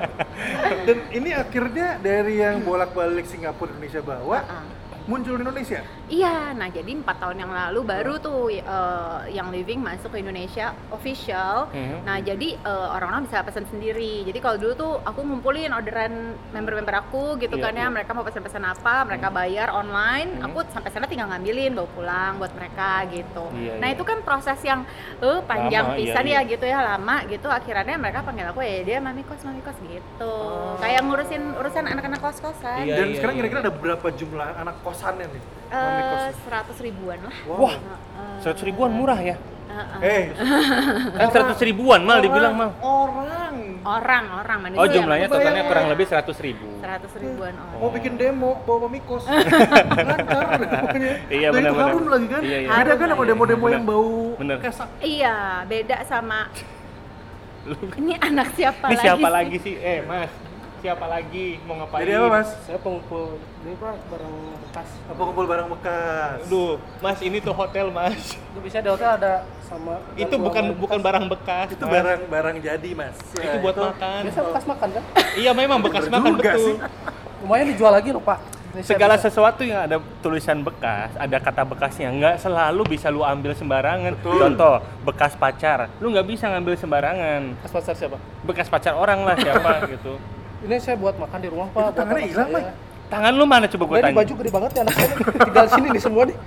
S2: dan ini akhirnya dari yang bolak-balik Singapura Indonesia bawa
S1: Ah.
S2: muncul di Indonesia
S1: Iya, nah jadi empat tahun yang lalu baru tuh eh, yang living masuk ke Indonesia official.
S3: Mhm.
S1: Nah jadi eh, orang-orang bisa pesan sendiri. Jadi kalau dulu tuh aku ngumpulin orderan member-member aku gitu
S3: Iya, Hmm.
S1: kan ya,
S3: iya.
S1: mereka mau pesan-pesan apa, mereka bayar online.
S3: Mhm.
S1: Aku sampai sana tinggal ngambilin bawa pulang buat mereka gitu.
S3: Iya,
S1: nah
S3: iya.
S1: itu kan proses yang eh, panjang
S3: Lama, iya,
S1: pisan
S3: iya.
S1: ya gitu ya lama gitu. Akhirnya mereka panggil aku ya dia mami kos mami kos gitu. Kayak ngurusin urusan anak-anak kos kosan.
S3: Oh. Iya,
S2: dan
S3: iya,
S2: sekarang
S3: iya.
S2: kira-kira ada berapa jumlah anak kosannya nih Mami kos.
S1: Eh, seratus ribuan lah.
S2: Wah.
S1: Heeh.
S3: Seratus ribuan murah ya?
S1: Heeh.
S2: eh
S3: Kan seratus ribuan mal dibilang mal.
S2: orang
S1: orang orang manusia
S3: Oh jumlahnya
S2: Bayangin.
S3: totalnya kurang lebih seratus ribu.
S1: seratus ribuan orang
S2: mau bikin demo bawa mami kos lancar namanya
S3: Iya,
S2: Dan itu
S3: benar-benar.
S2: harum lagi kan
S3: Iya, iya.
S2: ada kan
S1: Harum,
S2: apa
S1: iya.
S2: demo-demo yang
S3: Benar.
S2: bau
S3: Benar.
S2: kesak
S1: iya beda sama ini anak siapa
S3: Ini
S1: lagi
S3: siapa
S1: sih?
S3: lagi sih? Eh mas, siapa lagi mau ngapain?
S2: jadi apa mas
S4: Saya pengumpul ini pak barang bekas.
S2: apa kumpul barang bekas
S3: Aduh, mas ini tuh hotel mas.
S4: Itu bisa di hotel ada sama.
S3: Itu bukan bukan barang bekas.
S2: itu
S3: Mas.
S2: barang-barang jadi mas
S3: Itu
S2: Ya,
S3: buat makan.
S4: Biasa bekas makan kan?
S3: Iya memang bekas
S2: Bener
S3: makan
S2: juga
S3: betul.
S2: sih.
S4: Lumayan dijual lagi loh pak. Ini saya
S3: Segala
S4: bisa-
S3: sesuatu yang ada tulisan bekas, ada kata bekasnya, nggak selalu bisa lu ambil sembarangan.
S2: Betul.
S3: Contoh, bekas pacar, lu nggak bisa ngambil sembarangan.
S4: bekas pasar siapa?
S3: Bekas pacar orang lah siapa gitu.
S4: Ini saya buat makan di rumah pak.
S2: Itu tangannya
S4: buat anak
S2: hilang,
S4: saya.
S2: Mike.
S3: Tangan lu mana coba gue
S4: Udah, ini
S3: tanya?
S4: baju gede banget ya anak saya. nih. Tinggal sini nih semua nih.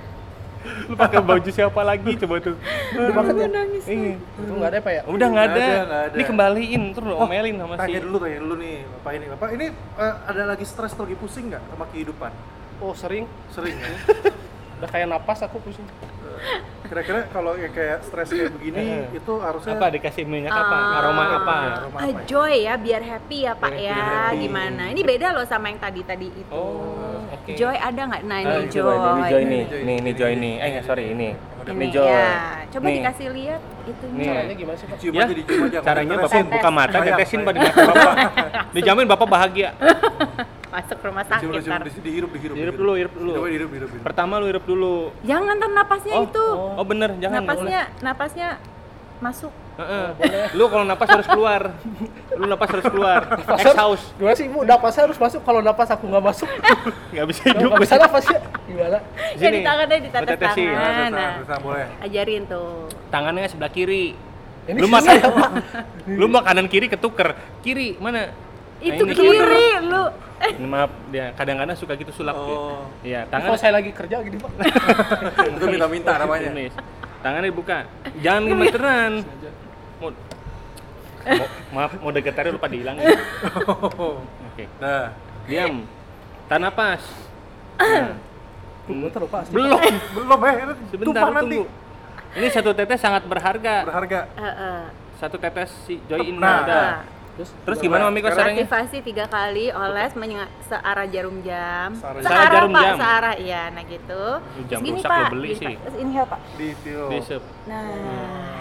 S3: Lu pakai baju siapa lagi coba tuh?
S4: Gede banget ya.
S1: nangis
S3: Iya.
S4: Itu nggak ada pak ya?
S3: Udah nggak ada.
S2: Nggak ada, nggak ada.
S3: Ini kembaliin terus lu
S2: Oh,
S3: omelin sama si.
S2: Tanya dulu, tanya dulu nih, Bapak ini. Bapak ini eh, ada lagi stres atau lagi pusing nggak sama kehidupan?
S4: Oh sering.
S2: Sering ya?
S4: Udah kayak napas aku pusing.
S2: Kira-kira kalau yang kayak stres kayak begini,
S3: Eh.
S2: itu harusnya...
S3: Apa dikasih minyak apa?
S1: Ah.
S3: Aroma apa?
S2: Aroma
S1: A
S2: apa ya?
S1: joy ya biar happy ya pak
S3: Biar
S1: ya
S3: happy.
S1: gimana ini beda loh sama yang tadi tadi itu
S3: Oh, oke.
S1: joy ada nggak nah ini
S3: Ah, ini
S1: joy,
S3: ini joy nih,
S2: Joy.
S3: nih, ini joy nih. Eh, nggak, sorry, ini. Ini
S1: Ini,
S3: joy.
S1: ya. coba
S3: Nih.
S1: dikasih lihat itunya
S3: Nih.
S4: Caranya gimana sih pak?
S2: Cium
S3: Ya,
S2: aja, dicium aja.
S3: caranya
S2: Kalau
S3: bapak
S2: stres,
S3: buka mata,
S2: Sayang,
S3: tetesin
S2: sayang.
S3: pada mata bapak. Dijamin bapak bahagia.
S1: masuk rumah sakit
S2: Dicium, dicium,
S1: ntar.
S2: dicium, dihirup, dihirup.
S3: Dihirup dulu, hirup dulu.
S2: Coba dihirup, dihirup, dihirup.
S3: Pertama lu hirup dulu.
S1: Jangan ntar napasnya
S3: oh,
S1: Ya, itu.
S3: Oh, bener, jangan. nggak
S1: napasnya, napasnya masuk.
S3: boleh. Heeh. Lu kalau napas harus keluar. Lu napas harus keluar. Exhaust.
S4: Gimana sih ibu, napasnya harus masuk, kalau napas aku nggak masuk,
S3: Enggak bisa hidup.
S4: nggak bisa napasnya. Gimana?
S3: Di
S1: Ya
S3: sini.
S1: di tangannya di
S3: Gua
S1: tetes
S3: tetesin.
S2: Nah,
S1: tangan.
S2: terus,
S1: Nah,
S2: terus, terus, boleh.
S1: ajarin tuh.
S3: Tangannya sebelah kiri.
S4: Ini
S3: lu
S4: susah
S3: makan
S4: ya, Pak.
S3: lu makanan kiri ketuker. Kiri mana? Nah,
S1: Itu
S3: ini.
S1: kiri lu.
S3: Maaf, dia kadang-kadang suka gitu sulap. dia.
S2: Oh.
S3: Iya, tangan
S4: Kalau saya lagi kerja gini pak.
S2: Itu minta-minta namanya.
S3: Tumis. Tangannya dibuka. Jangan gemeteran. Mau Mo- maaf, mau degetarnya lupa dihilangin. Oke.
S2: Nah,
S3: Diam. Tahan napas. Nah.
S4: Bentar lupa asli.
S3: Belum.
S2: belum eh, ini
S3: Sebentar
S2: tumpah
S3: lu
S2: nanti.
S3: tunggu. Ini satu tetes sangat berharga.
S2: Berharga.
S1: Heeh.
S3: Satu tetes si Joy ini
S2: Nah.
S3: udah.
S1: Nah,
S4: Terus
S3: Terus gimana Mami kok caranya?
S1: aktivasi tiga kali oles menyengat searah jarum jam.
S2: Searah
S3: jarum
S1: pak,
S3: jam.
S1: searah ya. Nah gitu.
S3: jam
S1: Terus gini,
S3: rusak lo
S1: pak.
S3: beli
S1: Gini,
S3: sih.
S1: Pak. Terus inhale pak.
S2: Ditiup.
S3: Disep.
S1: Nah.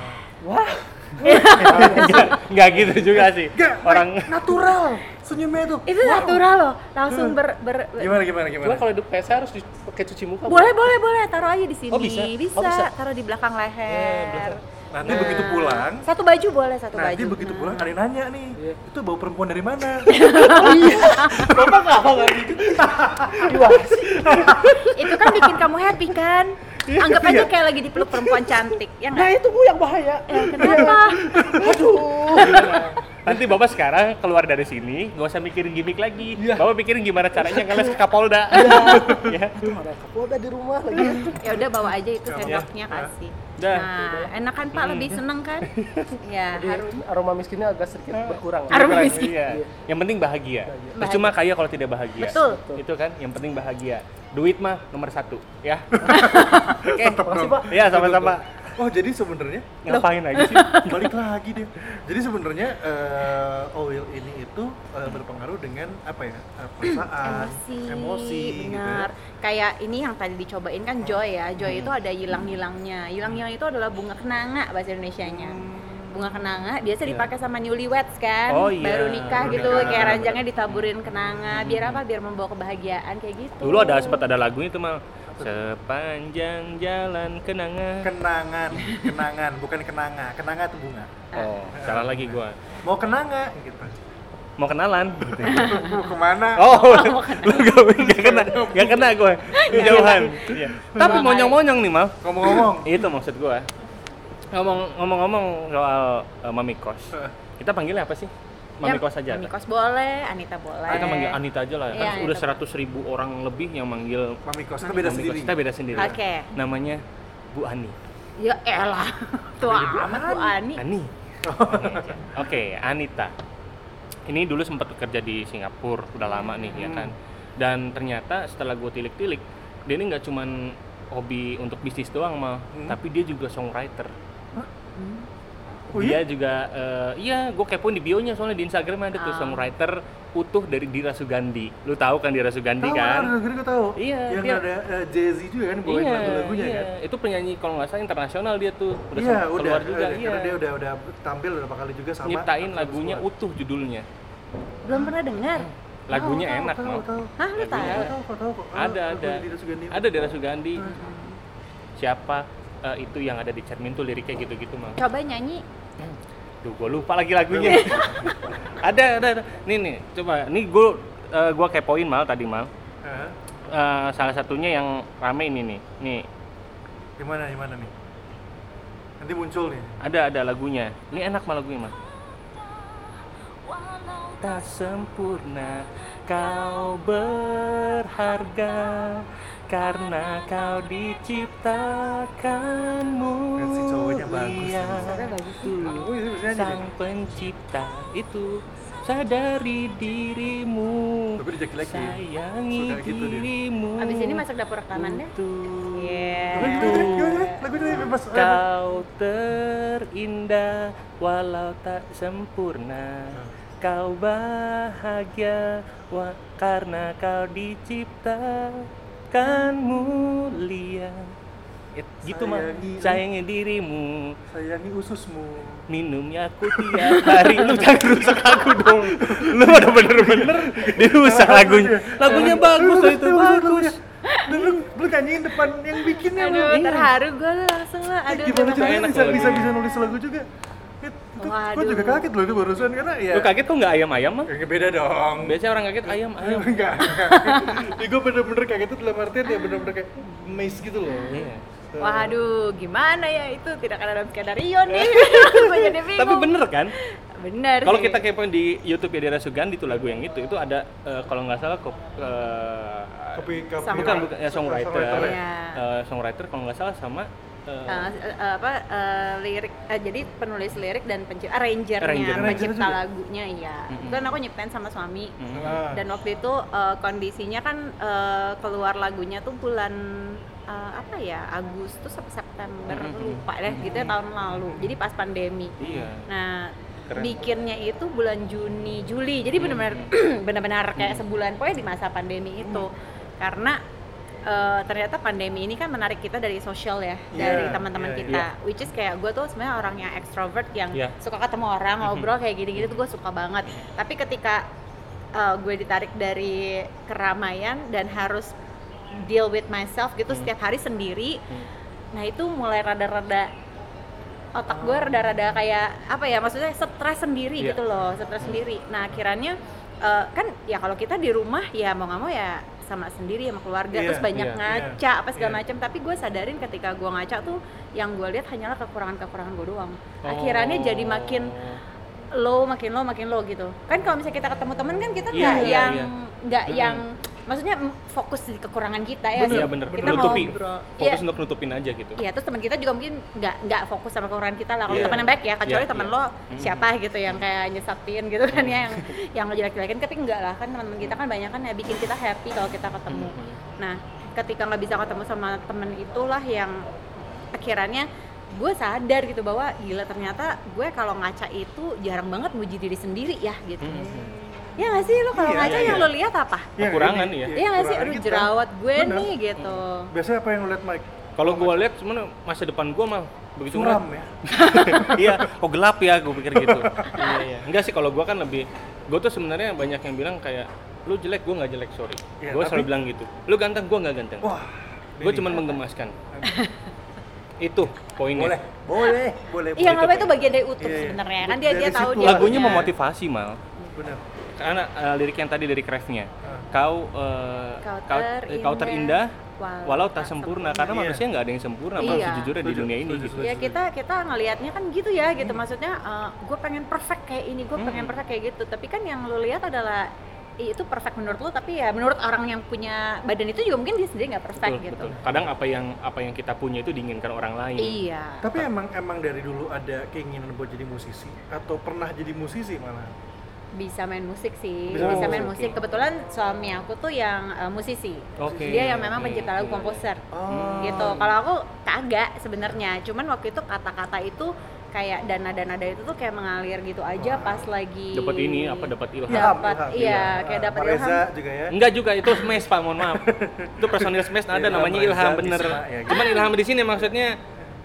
S4: Wah,
S3: Nggak- Nggak gitu juga sih.
S2: Nggak,
S3: Orang
S2: natural. Senyumnya itu.
S1: Itu natural loh. Langsung ber, ber- ber-
S2: Gimana gimana gimana?
S4: cuma kalau hidup kayak saya harus dipakai cuci muka.
S1: boleh boleh boleh taruh aja di sini.
S4: Oh, bisa?
S1: Bisa.
S4: Oh, bisa.
S1: Taruh di belakang leher.
S2: Nanti begitu
S1: Nah.
S2: pulang,
S1: Satu baju boleh satu baju. Hmm.
S2: nanti begitu pulang ada yang nanya nih, itu bau perempuan dari mana?
S4: Bapak nggak apa nggak gitu. Gimana sih?
S1: itu kan bikin kamu happy kan? Anggap aja kayak lagi dipeluk perempuan cantik, ya
S4: Nah
S1: nggak?
S4: itu bu yang bahaya.
S1: Ya, kenapa?
S4: Aduh.
S3: nanti Bapak sekarang keluar dari sini, nggak usah mikirin gimmick lagi.
S2: Iya.
S3: Bapak pikirin gimana caranya ngeles ke Kapolda. Ya.
S4: Aduh ada kapolda di rumah lagi.
S1: Ya udah bawa aja itu
S2: Kamu.
S1: sendoknya
S3: ya.
S1: kasih.
S3: Dah.
S1: Nah, enak kan Pak lebih
S3: Hmm.
S1: seneng kan? Ya,
S4: Jadi
S1: harum.
S4: aroma miskinnya agak sedikit berkurang.
S1: Aroma
S3: Kurang,
S1: miskin.
S3: iya. Yang penting bahagia.
S4: Bahagia.
S3: Percuma kaya kalau tidak bahagia.
S1: Betul.
S3: Itu kan yang penting bahagia. Duit mah nomor satu, ya.
S2: Tetep
S4: Makasih
S2: dong.
S4: pak.
S3: Iya sama-sama.
S2: Oh jadi sebenarnya
S3: Ngapain lagi sih?
S2: balik lagi deh. Jadi sebenarnya eh, oil ini itu eh, berpengaruh dengan apa ya eh, perasaan,
S1: emosi,
S2: emosi gitu ya.
S1: benar. Kayak ini yang tadi dicobain kan joy ya. Joy itu ada hilang-hilangnya. Hilang-hilang itu adalah bunga kenanga bahasa Indonesianya. Bunga kenanga biasa dipakai sama newlyweds kan,
S3: Hmm. Iya. Oh, iya. Hmm.
S1: baru nikah
S2: Baru
S1: gitu,
S2: nikah.
S1: kayak ranjangnya ditaburin kenanga. Biar apa? Biar membawa kebahagiaan kayak gitu.
S3: Dulu ada sempat ada lagunya tuh mal. Sepanjang jalan kenangan.
S2: Kenangan, kenangan, bukan kenanga. Kenanga itu bunga.
S3: Oh, salah lagi gua.
S2: Mau kenanga gitu.
S3: Mau kenalan gitu.
S2: Mau kemana?
S3: Oh, lu gak, gak kena, gak kena gue, jauhan. Iya. Tapi monyong-monyong nih mal,
S2: Ngomong-ngomong,
S3: itu maksud gua. Ngomong- Ngomong-ngomong soal eh, mami kos, kita panggilnya apa sih? Mami kos aja.
S1: Ya, Mami kos boleh, Anita boleh.
S3: Kita manggil Anita aja lah,
S1: Iya,
S3: kan udah
S1: Anita.
S3: 100.000 ribu orang lebih yang manggil
S2: mami kos itu beda
S3: Mami
S2: sendiri.
S3: Kos. Kita beda sendiri.
S1: Oke.
S3: Namanya Bu Ani.
S1: Ya elah. Tua amat Bu Ani.
S3: Ani. Oke, Anita. Ini dulu sempat kerja di Singapura, udah lama nih ya kan.
S2: Hmm.
S3: Dan ternyata setelah gue tilik-tilik, dia ini nggak cuman hobi untuk bisnis doang mal,
S2: Hmm.
S3: tapi dia juga songwriter.
S1: Hmm.
S2: Oh
S3: dia juga eh, iya, gue kepoin di bio-nya soalnya di Instagram ada tuh
S1: Ah.
S3: songwriter utuh dari Dira Sugandi. Lu tahu kan Dira Sugandi
S2: Tahu
S3: kan?
S2: kan? Gue tahu.
S3: Iya,
S2: Yang
S3: dia-
S2: ada eh, Jay-Z juga kan bawain lagu-lagunya
S3: iya.
S2: kan.
S3: Itu penyanyi kalau nggak salah internasional dia tuh. Udah
S2: Iya,
S3: sempat
S2: udah,
S3: keluar juga.
S2: udah,
S3: iya.
S2: karena dia udah udah tampil berapa kali juga sama
S3: nyiptain
S2: Akrab
S3: lagunya
S2: Squad.
S3: utuh judulnya.
S1: Belum pernah dengar.
S3: Lagunya
S2: Tahu,
S3: enak
S2: tahu,
S3: mau.
S2: tahu,
S1: Hah, lu
S3: Lagunya
S1: tahu?
S2: Tahu, tahu, tahu, kok. Ah,
S3: Ada ada.
S2: lagunya Dira Sugandi. Hmm.
S3: Ada Dira Sugandi. Siapa eh, itu yang ada di cermin tuh liriknya gitu-gitu mau.
S1: Coba nyanyi.
S3: Duh, gue lupa lagi lagunya. ada, ada, ada. Nih nih, coba. Nih gue gua kepoin mal tadi mal.
S2: Hah?
S3: Eh, salah satunya yang rame ini nih. Nih,
S2: Gimana gimana nih? Nanti muncul nih.
S3: ada ada lagunya. Ini enak mal lagunya mal. Tak sempurna, kau berharga karena kau diciptakan
S2: Versi cowoknya bagus.
S3: mulia.
S2: Oh, iya, bisa aja
S3: Iya. Sang
S2: deh.
S3: pencipta itu sadari dirimu.
S2: Tapi dijaki-jaki.
S3: Sayangi
S2: Suka gitu dia.
S3: dirimu.
S1: Abis ini masuk dapur rekaman deh.
S3: Untuk
S1: Iya.
S2: Gimana, gimana? Lagunya Eh, dari bebas. bebas.
S3: Kau terindah walau tak sempurna Kau bahagia wa- karena kau diciptakan mulia It's gitu mah
S2: Sayangi-
S3: sayangi dirimu
S2: sayangi ususmu
S3: minum ya aku tiap hari Iya. lu jangan rusak aku dong lu udah bener-bener dirusak lagunya Iya, lagunya bagus loh itu bagus
S2: dulu lu nyanyiin depan yang ya, bikinnya lu
S1: Aduh, terharu gue langsung lah. Aduh,
S2: Eh, gimana
S1: kenapa
S2: caranya
S3: enak
S2: bisa,
S3: kalau
S2: bisa
S3: gini.
S2: bisa nulis lagu juga It, itu gue
S1: Waduh.
S2: juga kaget loh itu barusan karena ya
S3: lu kaget kok nggak ayam-ayam mah
S2: kaget beda dong
S3: biasanya orang kaget ayam-ayam
S2: enggak jadi gue bener-bener kaget itu dalam artian ya bener-bener kayak maze gitu loh
S3: Iya.
S1: Waduh, gimana ya itu tidak ada dalam skenario nih. Gue jadi bingung.
S3: tapi bener kan
S1: Bener
S3: kalau
S1: sih.
S3: kita kepoin di YouTube ya Dera Sugandi itu lagu yang itu itu ada eh, kalau nggak salah kop, eh,
S2: Kopi- kopi-
S3: bukan bukan ya songwriter
S2: Songwriter,
S1: ya.
S3: Eh, songwriter kalau nggak salah sama eh,
S1: Eh, eh, apa eh, lirik eh, jadi penulis lirik dan penci arrangernya
S3: Arranger.
S2: Arranger
S1: pencipta
S2: juga.
S1: lagunya iya
S3: Mm-mm.
S1: itu kan aku nyiptain sama suami
S3: mm,
S2: Ah.
S1: dan waktu itu eh, kondisinya kan eh, keluar lagunya tuh bulan eh, apa ya Agustus sampai September
S3: Mm-mm.
S1: lupa deh gitu ya tahun lalu jadi pas pandemi
S3: iya
S1: Nah,
S3: Keren.
S1: bikinnya itu bulan Juni, Juli. Jadi
S2: Hmm.
S1: benar-benar benar-benar kayak sebulan pokoknya di masa pandemi itu. Karena eh, ternyata pandemi ini kan menarik kita dari sosial ya, dari
S2: Iya,
S1: teman-teman
S2: iya,
S1: kita. Which is kayak gue tuh sebenarnya orang yang extrovert yang
S3: Iya.
S1: suka ketemu orang,
S2: Hmm.
S1: ngobrol kayak gini-gini tuh gue suka banget. Tapi ketika eh, gue ditarik dari keramaian dan harus deal with myself gitu setiap hari sendiri. Nah, itu mulai rada-rada otak gue rada-rada kayak apa ya maksudnya stres sendiri
S3: Iya.
S1: gitu loh stres sendiri nah akhirnya eh, kan ya kalau kita di rumah ya mau nggak mau ya sama sendiri sama keluarga
S2: Iya,
S1: terus banyak
S3: iya,
S1: ngaca apa segala
S2: iya.
S1: macam tapi gue sadarin ketika gue ngaca tuh yang gue lihat hanyalah kekurangan kekurangan gue doang
S3: Oh.
S1: akhirnya Nah, jadi makin low makin low makin low gitu kan kalau misalnya kita ketemu temen kan kita
S3: Iya,
S1: nggak
S3: iya,
S1: yang
S3: iya.
S1: nggak
S3: Mm-mm.
S1: yang maksudnya mm, fokus di kekurangan kita ya
S3: Bener,
S1: sih?
S3: iya, bener.
S1: kita
S3: Nutupi.
S1: ngobrol. Iya.
S3: fokus untuk nutupin aja gitu
S1: Iya, terus teman kita juga mungkin nggak nggak fokus sama kekurangan kita lah. Kalau
S3: Iya.
S1: teman yang baik ya, kecuali
S3: Iya,
S1: teman
S3: iya.
S1: lo siapa gitu yang kayak nyesatin gitu kan ya, yang yang jelek-jelekin. Tapi enggak lah kan teman-teman kita kan banyak kan ya bikin kita happy kalau kita ketemu. Nah, ketika nggak bisa ketemu sama temen itulah yang akhirannya gue sadar gitu bahwa gila ternyata gue kalau ngaca itu jarang banget muji diri sendiri ya gitu.
S3: Hmm,
S1: Ya
S3: Mm-hmm.
S1: nggak sih lo kalau
S2: Iya,
S1: ngaca
S2: iya,
S1: yang
S2: iya.
S1: lo lihat apa?
S2: Iya,
S3: Kekurangan
S2: ini-
S3: ya.
S1: Iya nggak sih,
S2: kekurangan
S1: aduh
S2: kita.
S1: jerawat gue
S2: Bener.
S1: nih gitu.
S2: Biasanya apa yang lu lihat Mike?
S3: kalau gua lihat cuman masa depan gua mah begitu
S2: Suram ya?
S3: iya kok gelap ya gue pikir gitu iya, iya. enggak sih kalau gue kan lebih gue tuh sebenarnya banyak yang bilang kayak lu jelek gue nggak jelek sorry
S2: Iya,
S3: gue
S2: tapi-
S3: selalu bilang gitu lu ganteng gue nggak ganteng
S2: Wah. ya.
S3: gue cuman menggemaskan itu poinnya
S2: boleh, boleh, boleh.
S1: Iya
S3: Itu
S1: nggak apa itu
S3: kayak-
S1: bagian dari utuh
S2: Iya, iya.
S1: sebenarnya kan dia dia
S2: Dari
S1: tahu
S2: situ.
S1: dia
S3: lagunya
S1: punya.
S3: memotivasi mal
S2: Benar.
S3: karena eh, lirik yang tadi dari Craftnya
S2: Ah.
S3: kau eh,
S1: Kau
S3: eh,
S1: terindah,
S3: kau terindah walau tak sempurna karena
S2: Iya.
S3: manusia nggak ada yang sempurna
S1: Iya.
S3: bang sejujurnya di
S2: Setuju,
S3: dunia ini
S2: setuju,
S3: gitu.
S1: Ya kita kita ngelihatnya kan gitu ya gitu
S3: Hmm.
S1: maksudnya gue pengen perfect kayak ini gue pengen perfect kayak gitu tapi kan yang lu lihat adalah "Ih, itu perfect menurut lu tapi ya menurut orang yang punya badan itu juga mungkin dia sendiri nggak perfect
S3: Betul,
S1: gitu.
S3: betul. kadang apa yang apa yang kita punya itu diinginkan orang lain
S1: Iya.
S2: Tapi emang emang dari dulu ada keinginan buat jadi musisi atau pernah jadi musisi malah?
S1: bisa main musik sih
S2: Bisa
S1: bisa,
S2: main
S1: main
S3: musik. iya.
S1: musik kebetulan suami aku tuh yang eh, musisi
S3: Oke.
S1: dia yang memang
S3: Oke, Iya.
S1: pencipta lagu
S3: oke.
S1: komposer
S2: Oh.
S1: gitu kalau aku kagak sebenarnya cuman waktu itu kata-kata itu kayak dana-dana itu tuh kayak mengalir gitu aja pas lagi
S3: dapat ini apa dapat ilham
S1: dapat
S2: Ilham,
S1: iya
S2: ilham.
S1: kayak dapat
S2: Pak Reza
S1: ilham
S2: juga ya.
S3: Enggak juga itu smash Pak, mohon maaf. Itu personil smash ada
S2: Ilham
S3: namanya
S2: Reza
S3: Ilham bener.
S2: Isma, ya gitu.
S3: Cuman Ilham di sini maksudnya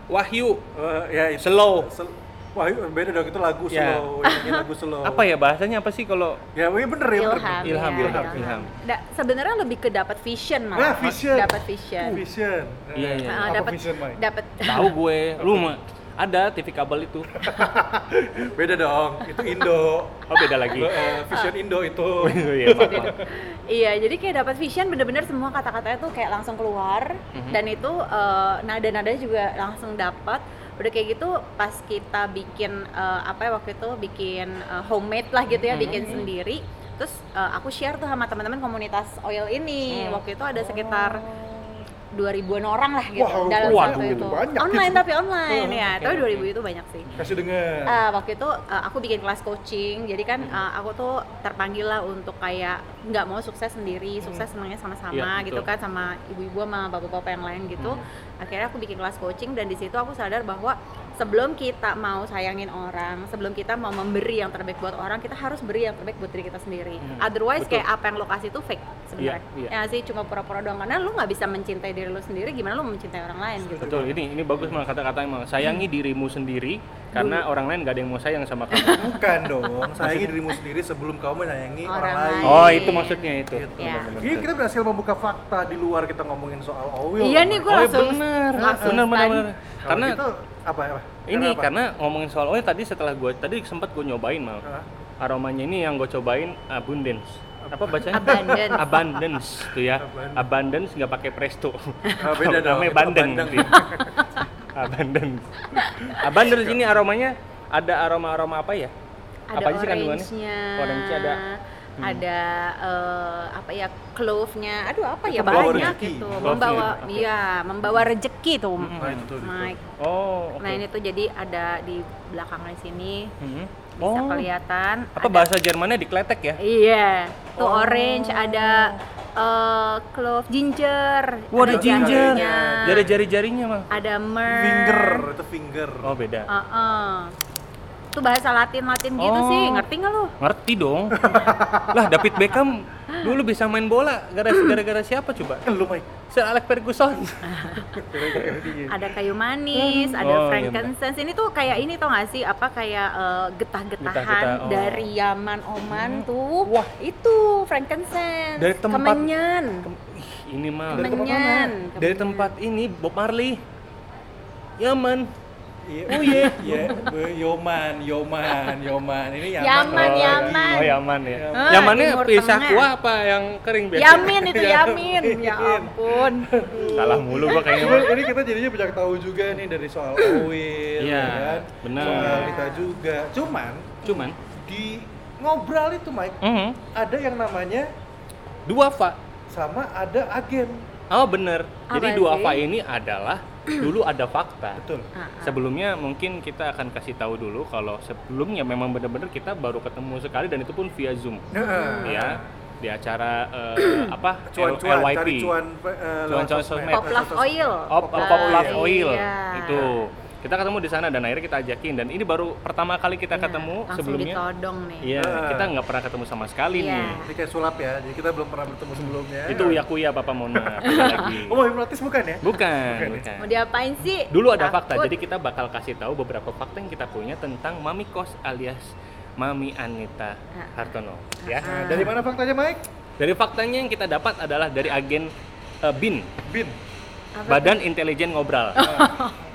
S3: Wahyu
S2: Eh, ya itu.
S3: slow.
S2: Sel- Wah, itu beda dong itu lagu
S3: Ya.
S2: slow, ya, ini lagu slow.
S3: Apa ya bahasanya apa sih kalau
S2: Ya, iya bener ya. bener.
S1: ilham
S3: Ilham,
S1: iya,
S3: ilham, ilham.
S1: Da- sebenarnya lebih ke dapat vision malah
S2: Ah, vision.
S1: dapat vision
S2: Uh, Vision. Eh,
S3: Iya, iya.
S1: Ah,
S2: Apa
S1: dapat
S2: vision, Mike?
S1: dapat
S3: tahu gue, lu mah ada TV kabel itu.
S2: Beda dong, itu Indo.
S3: Oh beda lagi.
S2: Eh, vision Indo itu.
S3: Iya, maaf, maaf.
S1: Iya, jadi kayak dapat vision bener-bener semua kata-katanya tuh kayak langsung keluar
S3: Mhm.
S1: dan itu eh, nada-nadanya juga langsung dapat. Udah kayak gitu pas kita bikin eh, apa ya waktu itu bikin eh, homemade lah gitu
S3: Mhm.
S1: ya, bikin sendiri. Terus eh, aku share tuh sama teman-teman komunitas oil ini.
S3: Iya.
S1: Waktu itu ada sekitar 2000-an orang lah gitu
S2: Wow,
S1: dalam satu
S3: waduh,
S1: itu.
S2: banyak
S1: Online
S2: gitu.
S1: tapi online ya.
S3: Oh, oke,
S1: Tapi
S3: oke.
S1: 2000 itu banyak sih.
S2: Kasih dengar.
S1: Eh, waktu itu eh, aku bikin kelas coaching, jadi kan
S3: Hmm.
S1: eh, aku tuh terpanggil lah untuk kayak nggak mau sukses sendiri, sukses senangnya sama-sama
S3: Hmm. Iya,
S1: gitu
S3: betul. Hmm.
S1: kan sama ibu-ibu sama bapak-bapak yang lain gitu. Akhirnya aku bikin kelas coaching dan di situ aku sadar bahwa sebelum kita mau sayangin orang, sebelum kita mau memberi yang terbaik buat orang, kita harus beri yang terbaik buat diri kita sendiri.
S3: Hmm,
S1: Otherwise
S3: betul.
S1: kayak apa yang lo kasih itu fake sebenarnya.
S3: Iya, iya.
S1: Ya sih cuma pura-pura doang karena lo nggak bisa mencintai diri lo sendiri, gimana lo mencintai orang lain gitu.
S3: Betul, ini ini bagus malah kata-kata emang sayangi dirimu sendiri karena orang lain gak ada yang mau sayang sama kamu.
S5: Bukan dong, sayangi dirimu sendiri sebelum kamu menyayangi orang,
S1: Orang
S5: lain.
S1: lain.
S3: oh, itu maksudnya itu.
S5: Gitu.
S1: Iya.
S3: Benar-benar.
S5: Ini kita berhasil membuka fakta di luar kita ngomongin soal oil.
S1: Iya nih gue
S3: Oh, iya,
S1: langsung
S3: bener.
S1: langsung
S3: Bener, bener,
S1: stun.
S3: bener.
S5: Karena
S3: Karena
S2: gitu,
S5: itu apa ya?
S3: ini kan- karena ngomongin soal oil tadi setelah gue tadi sempat gue nyobain mal aromanya ini yang gue cobain abundance apa bacanya
S1: Abundance.
S3: abundance tuh ya
S5: Abundance.
S3: abundance nggak pakai presto
S5: Ah, beda dong, ya.
S3: namanya
S5: itu
S3: bandeng
S5: abundance.
S3: gitu. abundance abundance ini aromanya ada aroma aroma apa ya
S1: ada
S3: Apaan sih kandungannya?
S1: orange-nya,
S3: Orange-nya ada. Hmm.
S1: ada eh, apa ya clove-nya, aduh apa ya
S5: membawa
S1: banyak
S5: rezeki.
S1: gitu,
S3: Clove-nya
S1: membawa
S3: ya, oke. Hmm,
S1: iya membawa rejeki tuh,
S5: Nah, itu tuh.
S1: Mike.
S3: oh oke
S1: Nah ini tuh jadi ada di belakang di sini
S3: Mhm.
S1: bisa
S3: oh
S1: kelihatan.
S3: apa
S1: ada-
S3: bahasa Jermannya dikletek ya
S1: Iya, tuh
S3: Oh.
S1: orange ada eh, clove ginger.
S3: Wah, ada ginger.
S1: jarinya,
S3: jari jari jarinya mah
S1: Ada myrrh.
S5: Finger, itu finger.
S3: oh beda
S1: Heeh. Itu bahasa Latin Latin gitu
S3: Oh.
S1: sih, ngerti nggak lo?
S3: ngerti dong lah David Beckham dulu bisa main bola gara- gara-gara siapa coba
S5: Kan lu Mike.
S3: Sir Alex Ferguson
S1: ada kayu manis, ada
S3: Oh, iya,
S1: frankincense. Ini tuh kayak ini tau gak sih apa kayak eh, getah-getahan
S3: Getah-getah, oh. Hmm.
S1: dari Yaman Oman tuh.
S3: Wah.
S1: itu frankincense.
S3: Dari tempat-
S1: kemenyan.
S3: Ih, ini mah
S1: Kemenyan.
S3: dari tempat ini Bob Marley Yaman
S5: Iya.
S3: Oh, iya.
S5: Iya, be- Yoman, Yoman, Yoman. Ini Yaman.
S1: Yaman,
S5: dong.
S1: Yaman.
S3: oh Yaman ya
S1: Ah,
S3: Yamannya
S1: Timur
S3: pisah
S1: Tengah.
S3: kuah apa yang kering biasa
S1: Yamin itu
S3: Iya.
S1: Yamin. ya ampun.
S3: salah mulu gua kayaknya
S5: Ini,
S3: Bang.
S5: ini kita jadinya banyak tahu juga nih dari soal oil,
S3: Iya,
S5: ya kan?
S3: benar.
S5: Soal kita juga. Cuman
S3: cuman
S5: di ngobrol itu Mike
S3: mhm,
S5: ada yang namanya
S3: dua fa
S5: sama ada agen.
S3: oh bener jadi
S1: Apa
S3: dua
S1: sih? Ah,
S3: fa ini adalah dulu ada fakta
S5: Betul.
S3: Sebelumnya mungkin kita akan kasih tahu dulu kalau sebelumnya memang benar-benar kita baru ketemu sekali dan itu pun via Zoom.
S5: Nah,
S3: ya di acara eh, apa
S5: cuan-cuan
S3: L- LYP
S5: cari cuan eh, lewat
S3: Cuan-cuan sosmed.
S1: Pop Love Oil.
S3: Op-
S1: Nah,
S3: Pop Love
S1: iya.
S3: Oil itu kita ketemu di sana dan akhirnya kita ajakin dan ini baru pertama kali kita
S1: Iya,
S3: ketemu
S1: langsung
S3: sebelumnya
S1: ditodong nih.
S3: iya
S5: Ah.
S3: kita nggak pernah ketemu sama sekali
S1: Iya.
S3: nih
S5: Ini kayak sulap ya. Jadi kita belum pernah bertemu sebelumnya.
S3: itu iya. Nah. uya kuya bapak Mona beda lagi
S5: Oh, mau hipnotis bukan ya?
S3: bukan
S5: Bukan ya?
S3: bukan
S1: Mau diapain sih?
S3: dulu ada fakta
S1: Takut.
S3: jadi kita bakal kasih tahu beberapa fakta yang kita punya tentang mami kos alias mami Anita
S1: Ah.
S3: Hartono ya
S5: Nah, dari mana faktanya Mike?
S3: dari faktanya yang kita dapat adalah dari agen eh, bin
S5: Bin.
S1: Apa Oh.
S3: Badan Intelijen Ngobral.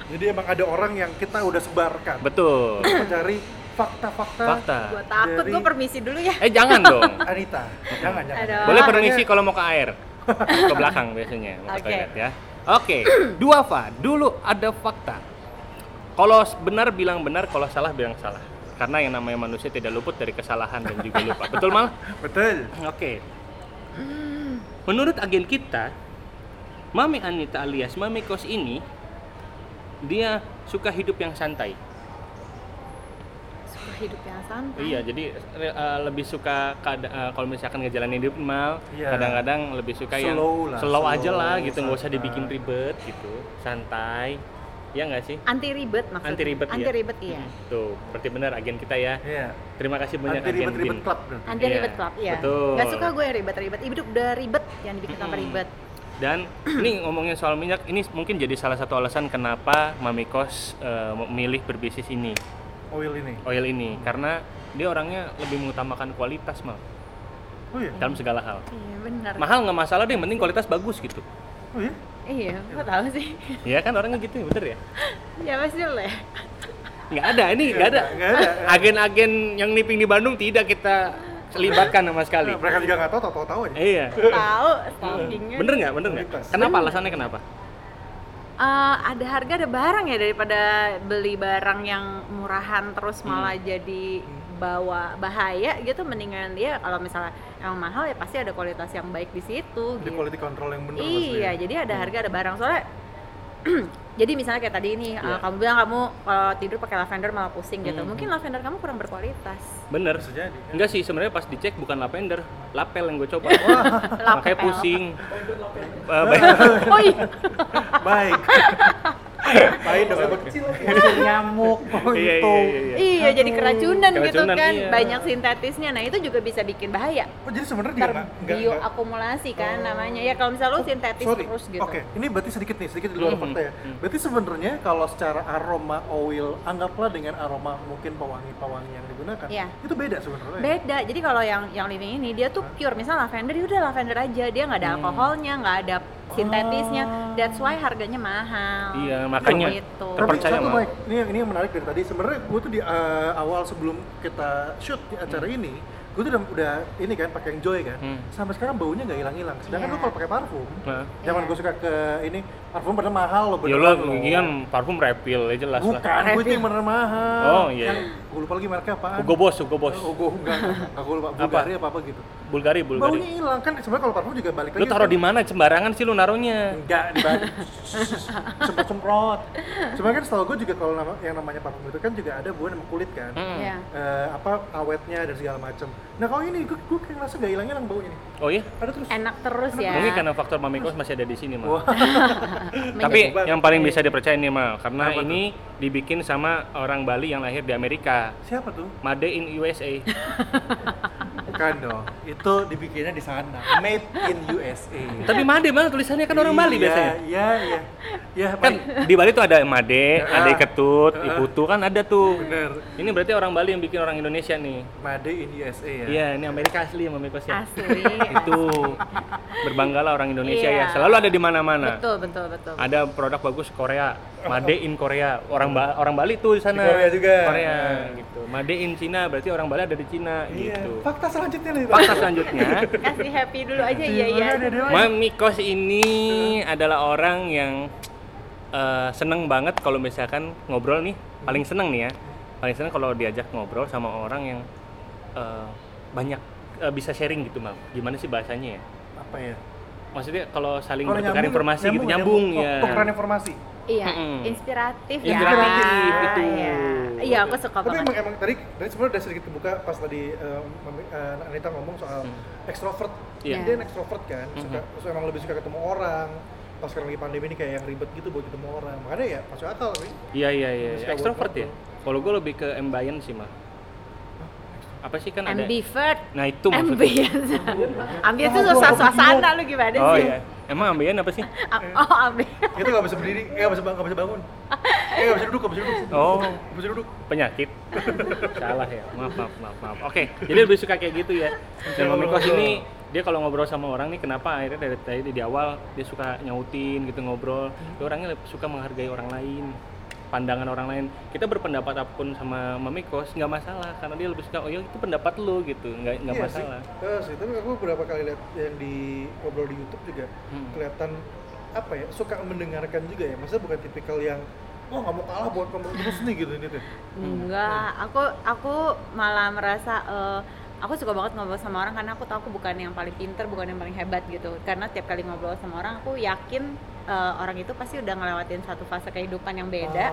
S5: Jadi emang ada orang yang kita udah sebarkan.
S3: Betul.
S5: mencari fakta-fakta
S1: tuh? Gua
S3: Fakta.
S1: takut,
S5: Dari-
S1: gua permisi dulu ya.
S3: Eh jangan dong.
S5: Anita. Jangan, jangan.
S1: Aduh.
S3: Boleh permisi kalau mau ke air. Ke belakang biasanya mau ke
S1: Oke.
S3: toilet ya. Oke, dua fa. Dulu ada fakta. Kalau benar bilang benar, kalau salah bilang salah. Karena yang namanya manusia tidak luput dari kesalahan dan juga lupa. Betul mal?
S5: Betul.
S3: Oke. Menurut agen kita, Mami Anita alias Mami Kos ini dia suka hidup yang santai.
S1: Suka hidup yang santai.
S3: Iya, jadi re- eh, lebih suka kada- eh, kalau misalkan ngejalanin hidup mal,
S5: Iya.
S3: kadang-kadang lebih suka yang
S5: Slow lah,
S3: slow
S5: slow,
S3: aja lah gitu, nggak usah
S5: santai.
S3: dibikin ribet gitu, santai. Ya nggak sih?
S1: Anti ribet maksudnya.
S3: Anti ribet
S1: Anti ribet iya.
S3: Tuh, berarti benar agen kita ya.
S5: Iya.
S3: Terima kasih banyak
S5: Anti
S3: agen
S5: ribet-ribet
S3: Bin.
S5: club berarti.
S1: Anti
S3: Iya,
S1: ribet club, iya.
S3: betul. Hmm.
S1: Gak suka gue yang ribet-ribet. Hidup udah ribet, yang dibikin tambah
S3: Mm-mm.
S1: ribet.
S3: Dan ini ngomongin soal minyak, ini mungkin jadi salah satu alasan kenapa Mami Kos eh, memilih berbisnis ini,
S5: Oil ini.
S3: oil ini, karena dia orangnya lebih mengutamakan kualitas mal
S5: Oh iya.
S3: dalam segala hal.
S1: Iya benar.
S3: Mahal nggak masalah deh, yang penting kualitas bagus gitu.
S5: Oh iya.
S1: Iya, gue tahu sih.
S3: Iya kan orangnya gitu, bener ya?
S1: ya pasti lah. ya.
S3: Nggak ada, ini nggak ada.
S5: Nggak ada.
S3: Agen-agen yang niping di Bandung tidak kita libatkan sama sekali.
S2: Iya,
S5: Nah, mereka juga nggak tahu, tahu tahu aja.
S3: Iya.
S1: Tahu stalkingnya.
S3: Bener nggak? Bener nggak?
S5: Kualitas.
S3: Kenapa alasannya kenapa?
S1: Eh, ada harga ada barang ya daripada beli barang yang murahan terus
S3: Hmm.
S1: malah jadi bawa bahaya gitu mendingan dia kalau misalnya emang mahal ya pasti ada kualitas yang baik di situ
S3: oh iya.
S5: Di
S1: gitu.
S5: quality control yang benar
S1: Iya, jadi ada
S3: hmm.
S1: harga ada barang soalnya. jadi misalnya kayak tadi ini,
S3: Iya. Hmm,
S1: uh, kamu bilang kamu kalau tidur pakai lavender malah pusing gitu. Mungkin lavender kamu kurang berkualitas.
S3: Bener.
S5: Bisa jadi.
S3: Enggak sih, sebenarnya pas dicek bukan lavender, lapel yang gue coba. Makanya
S1: Lapel. Oh iya,
S3: pusing. Eh, baik.
S1: Oi,
S5: Baik. Lain dong apa kecil lagi.
S2: nyamuk mau
S3: Iya,
S2: Oh, itu.
S3: iya, iya, iya.
S1: Iya, jadi keracunan, gitu
S3: Keracunan,
S1: kan.
S3: iya.
S1: Banyak sintetisnya. Nah, itu juga bisa bikin bahaya.
S2: Oh, jadi sebenarnya dia nggak- nggak- nggak-
S1: Terbioakumulasi
S3: Oh.
S1: kan namanya. Ya kalau misalnya lu sintetis
S2: Oh, Sorry.
S1: terus gitu.
S2: Oke, ini berarti sedikit nih, sedikit di luar
S3: Mhm.
S2: fakta ya. Berarti sebenarnya kalau secara aroma oil, anggaplah dengan aroma mungkin pewangi-pewangi yang digunakan,
S1: Iya.
S2: itu beda sebenarnya. ya?
S1: Beda. Jadi kalau yang yang living ini dia tuh pure. Misal lavender, ya udah lavender aja. Dia nggak
S3: Hmm.
S1: ada alkoholnya, nggak ada sintetisnya. That's why harganya mahal.
S3: Ah. Iya, makanya.
S1: Gitu.
S2: Tapi
S3: Terpercaya,
S2: satu
S3: Mak.
S2: baik, ini yang ini yang menarik dari tadi. Sebenarnya gue tuh di eh, awal sebelum kita shoot di acara ini, gue tuh udah, udah ini kan pakai yang joy kan.
S3: Hmm.
S2: Sampai sekarang baunya nggak hilang-hilang. Sedangkan
S1: Iya.
S2: lu kalau pakai parfum,
S3: Nah.
S2: zaman
S1: Iya.
S2: gue suka ke ini parfum bener mahal loh.
S3: Ya
S2: beneran
S3: lo
S2: loh.
S3: kan parfum refill ya jelas lah.
S2: Bukan, gue itu yang bener mahal.
S3: Oh, iya.
S2: Yang gue lupa lagi mereknya apaan.
S3: Hugo Boss, Hugo Boss.
S2: Oh, gue enggak, enggak gue lupa. Bulgari apa apa gitu.
S3: Bulgari,
S2: Baunya
S3: Bulgari.
S2: hilang kan sebenarnya kalau parfum juga balik lagi.
S3: Lu taruh
S2: kan-
S3: di mana? Sembarangan sih lu naruhnya.
S2: enggak di balik semprot semprot cuma kan setahu gue juga kalau nama- yang namanya parfum itu kan juga ada buah nama kulit kan
S3: Mm.
S1: Iya.
S2: Eh, apa awetnya dan segala macam nah kalau ini gue gue kayak ngerasa nggak hilang hilang baunya nih
S3: Oh iya.
S2: ada terus
S1: Enak terus ya.
S3: Mungkin kan- karena faktor Mamikos masih ada di sini, Mas.
S2: Wah.
S3: Tapi
S2: Menjadi-
S3: yang paling bisa dipercaya ini, Mal, karena
S2: Apa tuh?
S3: ini dibikin sama orang Bali yang lahir di Amerika.
S2: siapa tuh
S3: Made in USA.
S2: bukan dong
S5: Itu dibikinnya di sana. Made in USA.
S3: Tapi Made malah tulisannya kan orang Bali
S2: Iya,
S3: biasanya.
S2: iya iya iya
S3: Kan
S2: Mike.
S3: di Bali tuh ada
S2: Ya.
S3: Made, ada Ketut, Iputu kan ada tuh.
S2: bener
S3: Ini berarti orang Bali yang bikin orang Indonesia nih.
S2: Made in USA ya
S3: Iya, ini Amerika asli Mamikos ya.
S1: Asli.
S3: Itu berbanggalah orang Indonesia
S1: Iya.
S3: ya. Selalu ada di mana-mana.
S1: betul, betul, betul.
S3: Ada produk bagus Korea, Made in Korea. Orang ba- orang Bali tuh di sana.
S5: Di Korea juga.
S3: Korea gitu. Made in Cina berarti orang Bali ada di Cina
S5: Iya.
S3: gitu.
S5: Fakta selanjutnya nih, Pak.
S3: Fakta selanjutnya,
S1: Kasih happy dulu aja, iya, iya.
S3: Mamikos ini adalah orang yang eh, seneng banget kalau misalkan ngobrol nih, paling seneng nih ya, paling seneng kalau diajak ngobrol sama orang yang eh, banyak eh, bisa sharing gitu mal. Gimana sih bahasanya ya?
S2: apa ya
S3: Maksudnya kalau saling
S2: Kalau
S3: bertukar
S2: nyambung,
S3: informasi gitu nyambung,
S2: nyambung,
S3: ya.
S2: Oh, tukeran informasi
S1: Iya,
S3: Mm-mm.
S1: inspiratif,
S3: Inspiratif,
S1: ya.
S3: betul.
S1: Iya. Iya, aku suka
S2: tapi
S1: banget.
S2: emang emang tadi tadi sebenarnya udah sedikit kebuka pas tadi eh, Mami- eh, Anita ngomong soal ekstrovert
S3: Iya.
S2: dia yang ekstrovert kan suka so, emang lebih suka ketemu orang pas sekarang lagi pandemi ini kayak yang ribet gitu buat ketemu orang makanya ya masuk akal sih
S3: Iya iya iya.
S2: Terus kayak
S3: Extrovert ya.
S2: workout
S3: Kalau gue lebih ke ambient sih mal. Apa sih kan ada?
S1: Ambivert.
S3: Nah itu maksudnya.
S1: Ambience. Ambience itu suasana lu gimana sih?
S3: Oh iya. Emang ambient apa sih?
S1: A- Oh, ambience.
S2: itu nggak bisa berdiri eh, nggak bisa nggak bisa bangun eh nggak bisa duduk nggak bisa duduk
S3: Oh.
S2: nggak bisa duduk
S3: penyakit salah ya maaf maaf maaf maaf oke jadi lebih suka kayak gitu ya dan Mamikos ini dia kalau ngobrol sama orang nih kenapa akhirnya dari tadi di awal dia suka nyautin gitu ngobrol dia orangnya lebih suka menghargai orang lain pandangan orang lain kita berpendapat apapun sama Mamikos nggak masalah karena dia lebih suka oh ya itu pendapat lu gitu nggak nggak
S2: Iya sih.
S3: masalah
S2: Eh, sih tapi aku beberapa kali lihat yang di ngobrol di YouTube juga
S3: Hmm.
S2: kelihatan apa ya suka mendengarkan juga ya maksudnya bukan tipikal yang oh nggak mau kalah buat kamu terus nih gitu ini tuh
S1: Enggak, aku aku malah merasa eh, aku suka banget ngobrol sama orang karena aku tahu aku bukan yang paling pinter, bukan yang paling hebat gitu. Karena tiap kali ngobrol sama orang, aku yakin eh, orang itu pasti udah ngelewatin satu fase kehidupan yang
S2: Oh.
S1: beda.
S2: Ah,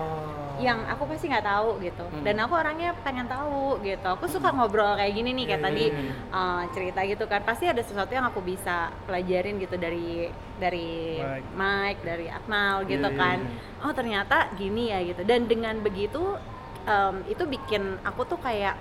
S1: yang aku pasti nggak tahu gitu
S2: Hmm.
S1: dan aku orangnya pengen tahu gitu aku suka ngobrol kayak gini nih kayak
S2: Hmm.
S1: tadi uh, cerita gitu kan pasti ada sesuatu yang aku bisa pelajarin gitu dari dari
S2: Mike.
S1: Mike dari Akmal gitu
S2: Iya, iya,
S1: kan oh ternyata gini ya gitu dan dengan begitu um, itu bikin aku tuh kayak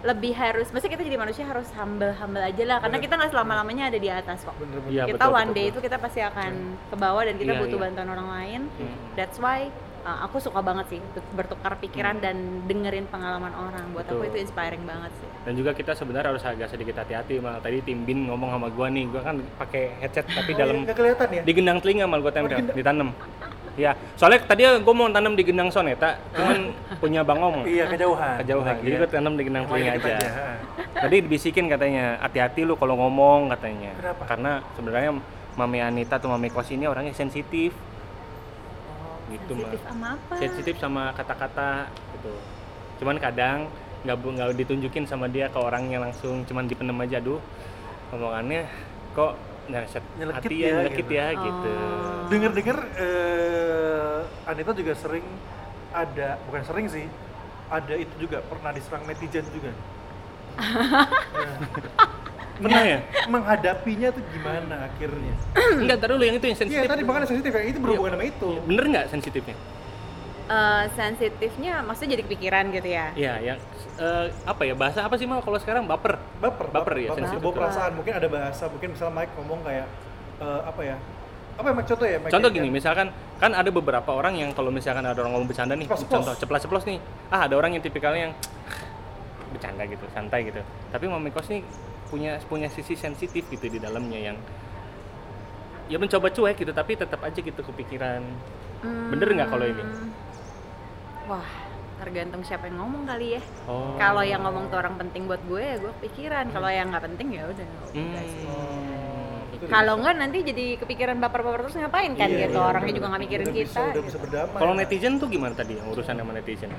S1: lebih harus mesti kita jadi manusia harus humble humble aja lah
S2: Iya.
S1: karena kita nggak selama lamanya ada di atas kok
S2: bener bener
S3: Iya,
S1: kita
S3: betul,
S1: one
S3: betul,
S1: day
S3: betul.
S1: itu kita pasti akan ke bawah dan kita
S3: Iya,
S1: butuh
S3: iya.
S1: bantuan orang lain
S3: Hmm.
S1: that's why uh, aku suka banget sih ber- bertukar pikiran dan dengerin pengalaman orang buat aku
S3: Hmm. Betul.
S1: itu inspiring banget sih
S3: dan juga kita sebenarnya harus agak sedikit hati-hati mal tadi Tim Bin ngomong sama gua nih gua kan pakai headset
S1: Oh,
S3: tapi dalam
S1: iya,
S2: nggak kelihatan ya
S3: di gendang telinga mal gue tempel ditanam ya soalnya tadi gue mau tanam di gendang soneta cuman punya bang om
S2: iya Oh, kejauhan
S3: kejauhan jadi gue tanam di gendang telinga
S2: Dikit
S3: aja
S2: aja, ha.
S3: tadi dibisikin katanya hati-hati lu kalau ngomong katanya
S2: Kenapa?
S3: karena sebenarnya mami Anita atau mami Kos ini orangnya sensitif gitu mal
S1: sensitif sama apa
S3: sensitif sama kata-kata gitu cuman kadang nggak bu- nggak ditunjukin sama dia ke orangnya langsung cuman dipendem aja duh omongannya kok nyeset
S2: Nyelekit
S3: hati
S2: ya,
S3: ya nyelekit
S2: gitu.
S3: ya gitu
S1: Oh.
S2: denger dengar eh, Anita juga sering ada bukan sering sih ada itu juga pernah diserang netizen juga
S3: pernah ya
S2: Iya, menghadapinya tuh gimana akhirnya
S3: Enggak, taruh dulu yang itu yang sensitif.
S2: iya tadi makanya sensitif ya itu berhubungan sama itu
S3: Bener nggak sensitifnya?
S1: eh, sensitifnya maksudnya jadi kepikiran gitu ya
S3: Iya, yang eh, apa ya bahasa apa sih mal kalau sekarang baper?
S2: baper
S3: Baper ya, sensitif
S2: bawa
S3: tuh.
S2: perasaan mungkin ada bahasa mungkin misalnya Mike ngomong kayak eh, apa ya apa ya Mike contoh ya Mike
S3: Contoh
S2: Ya,
S3: gini,
S2: ya.
S3: misalkan kan ada beberapa orang yang kalau misalkan ada orang ngomong bercanda nih,
S2: Ceplos-ceplos.
S3: contoh ceplas-ceplos nih. Ah, ada orang yang tipikalnya yang bercanda gitu, santai gitu. Tapi Mami Kos nih punya punya sisi sensitif gitu di dalamnya yang ya mencoba cuek gitu tapi tetap aja gitu kepikiran. Bener nggak kalau ini?
S1: Hmm. wah tergantung siapa yang ngomong kali ya
S3: Oh.
S1: kalau yang ngomong tuh orang penting buat gue ya gue kepikiran kalau yang nggak penting ya udah nggak
S3: Hmm. gitu.
S1: usah sih.
S2: Itu udah
S1: kalau
S2: bisa.
S1: nggak nanti jadi kepikiran baper-baper terus ngapain kan
S2: Iya,
S1: gitu
S2: iya,
S1: orangnya
S2: udah-
S1: juga nggak mikirin
S2: udah
S1: kita
S2: bisa, udah
S1: gitu.
S2: bisa berdamai
S3: Kalau netizen tuh gimana tadi yang urusan sama netizen?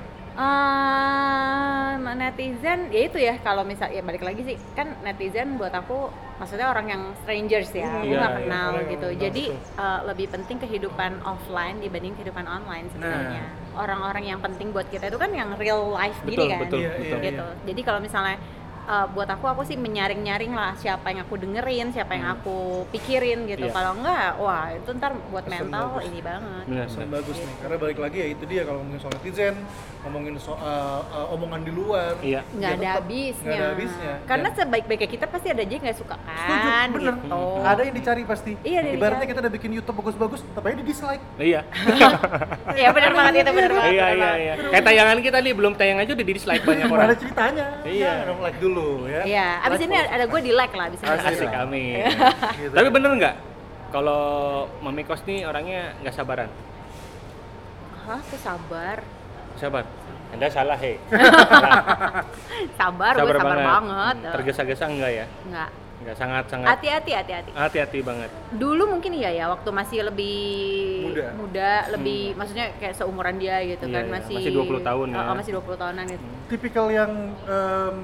S1: Eh, netizen ya itu ya kalau misal ya balik lagi sih kan netizen buat aku maksudnya orang yang strangers ya aku
S2: Hmm,
S3: iya,
S1: nggak
S3: iya,
S1: kenal
S2: orang yang
S1: gitu
S2: nggak
S1: jadi
S2: betul.
S1: eh, lebih penting kehidupan offline dibanding kehidupan online
S3: Nah.
S1: sebenarnya orang-orang yang penting buat kita itu kan yang real life
S3: Betul,
S1: gini kan
S3: betul,
S2: Iya,
S3: betul.
S2: iya,
S1: gitu jadi kalau misalnya eh, buat aku aku sih menyaring-nyaring lah siapa yang aku dengerin siapa yang aku pikirin gitu
S3: Hmm. Iya.
S1: kalau enggak wah itu ntar buat
S2: Pesan
S1: mental
S2: bagus.
S1: ini banget
S3: Benar,
S2: Pesan
S3: benar.
S2: bagus nih karena balik lagi ya itu dia kalau ngomongin soal netizen ngomongin soal eh, omongan di luar
S3: Iya.
S1: nggak
S2: ya
S1: ada
S2: tetap
S1: habisnya.
S2: nggak ada habisnya.
S1: Karena
S2: Dan-
S1: sebaik-baiknya kita pasti ada aja yang nggak suka
S2: setuju
S1: kan.
S2: bener
S1: gitu.
S2: Ya. ada yang dicari pasti
S1: Iya, ada yang
S2: ibaratnya
S1: dicari.
S2: kita udah bikin YouTube bagus-bagus tapi aja di dislike
S3: Iya.
S1: Iya bener banget itu bener banget. bener
S3: Iya iya
S1: banget.
S3: iya. Kayak tayangan kita nih belum tayang aja udah di dislike banyak orang.
S2: gimana ceritanya
S3: Iya.
S2: Jangan dong, like dulu ya
S1: Iya, abis ini ada gue di like lah, abis ini. di
S3: Asik
S1: like.
S3: kami.
S2: Gitu.
S3: Tapi bener nggak kalau Mami Kos nih orangnya nggak sabaran?
S1: Hah, aku sabar,
S3: Sabar. Anda salah hei.
S1: sabar, gue sabar banget.
S3: Hmm.
S1: Eh,
S3: Tergesa-gesa enggak ya?
S1: Nggak,
S3: Enggak sangat sangat
S1: hati-hati, hati-hati.
S3: hati-hati banget.
S1: Dulu mungkin iya ya, waktu masih lebih
S2: Muda.
S1: lebih maksudnya kayak seumuran dia gitu
S3: Iya,
S1: kan
S3: iya.
S1: masih
S3: Masih 20 tahun ya.
S1: Oh, oh, masih 20 tahunan gitu.
S2: tipikal yang em,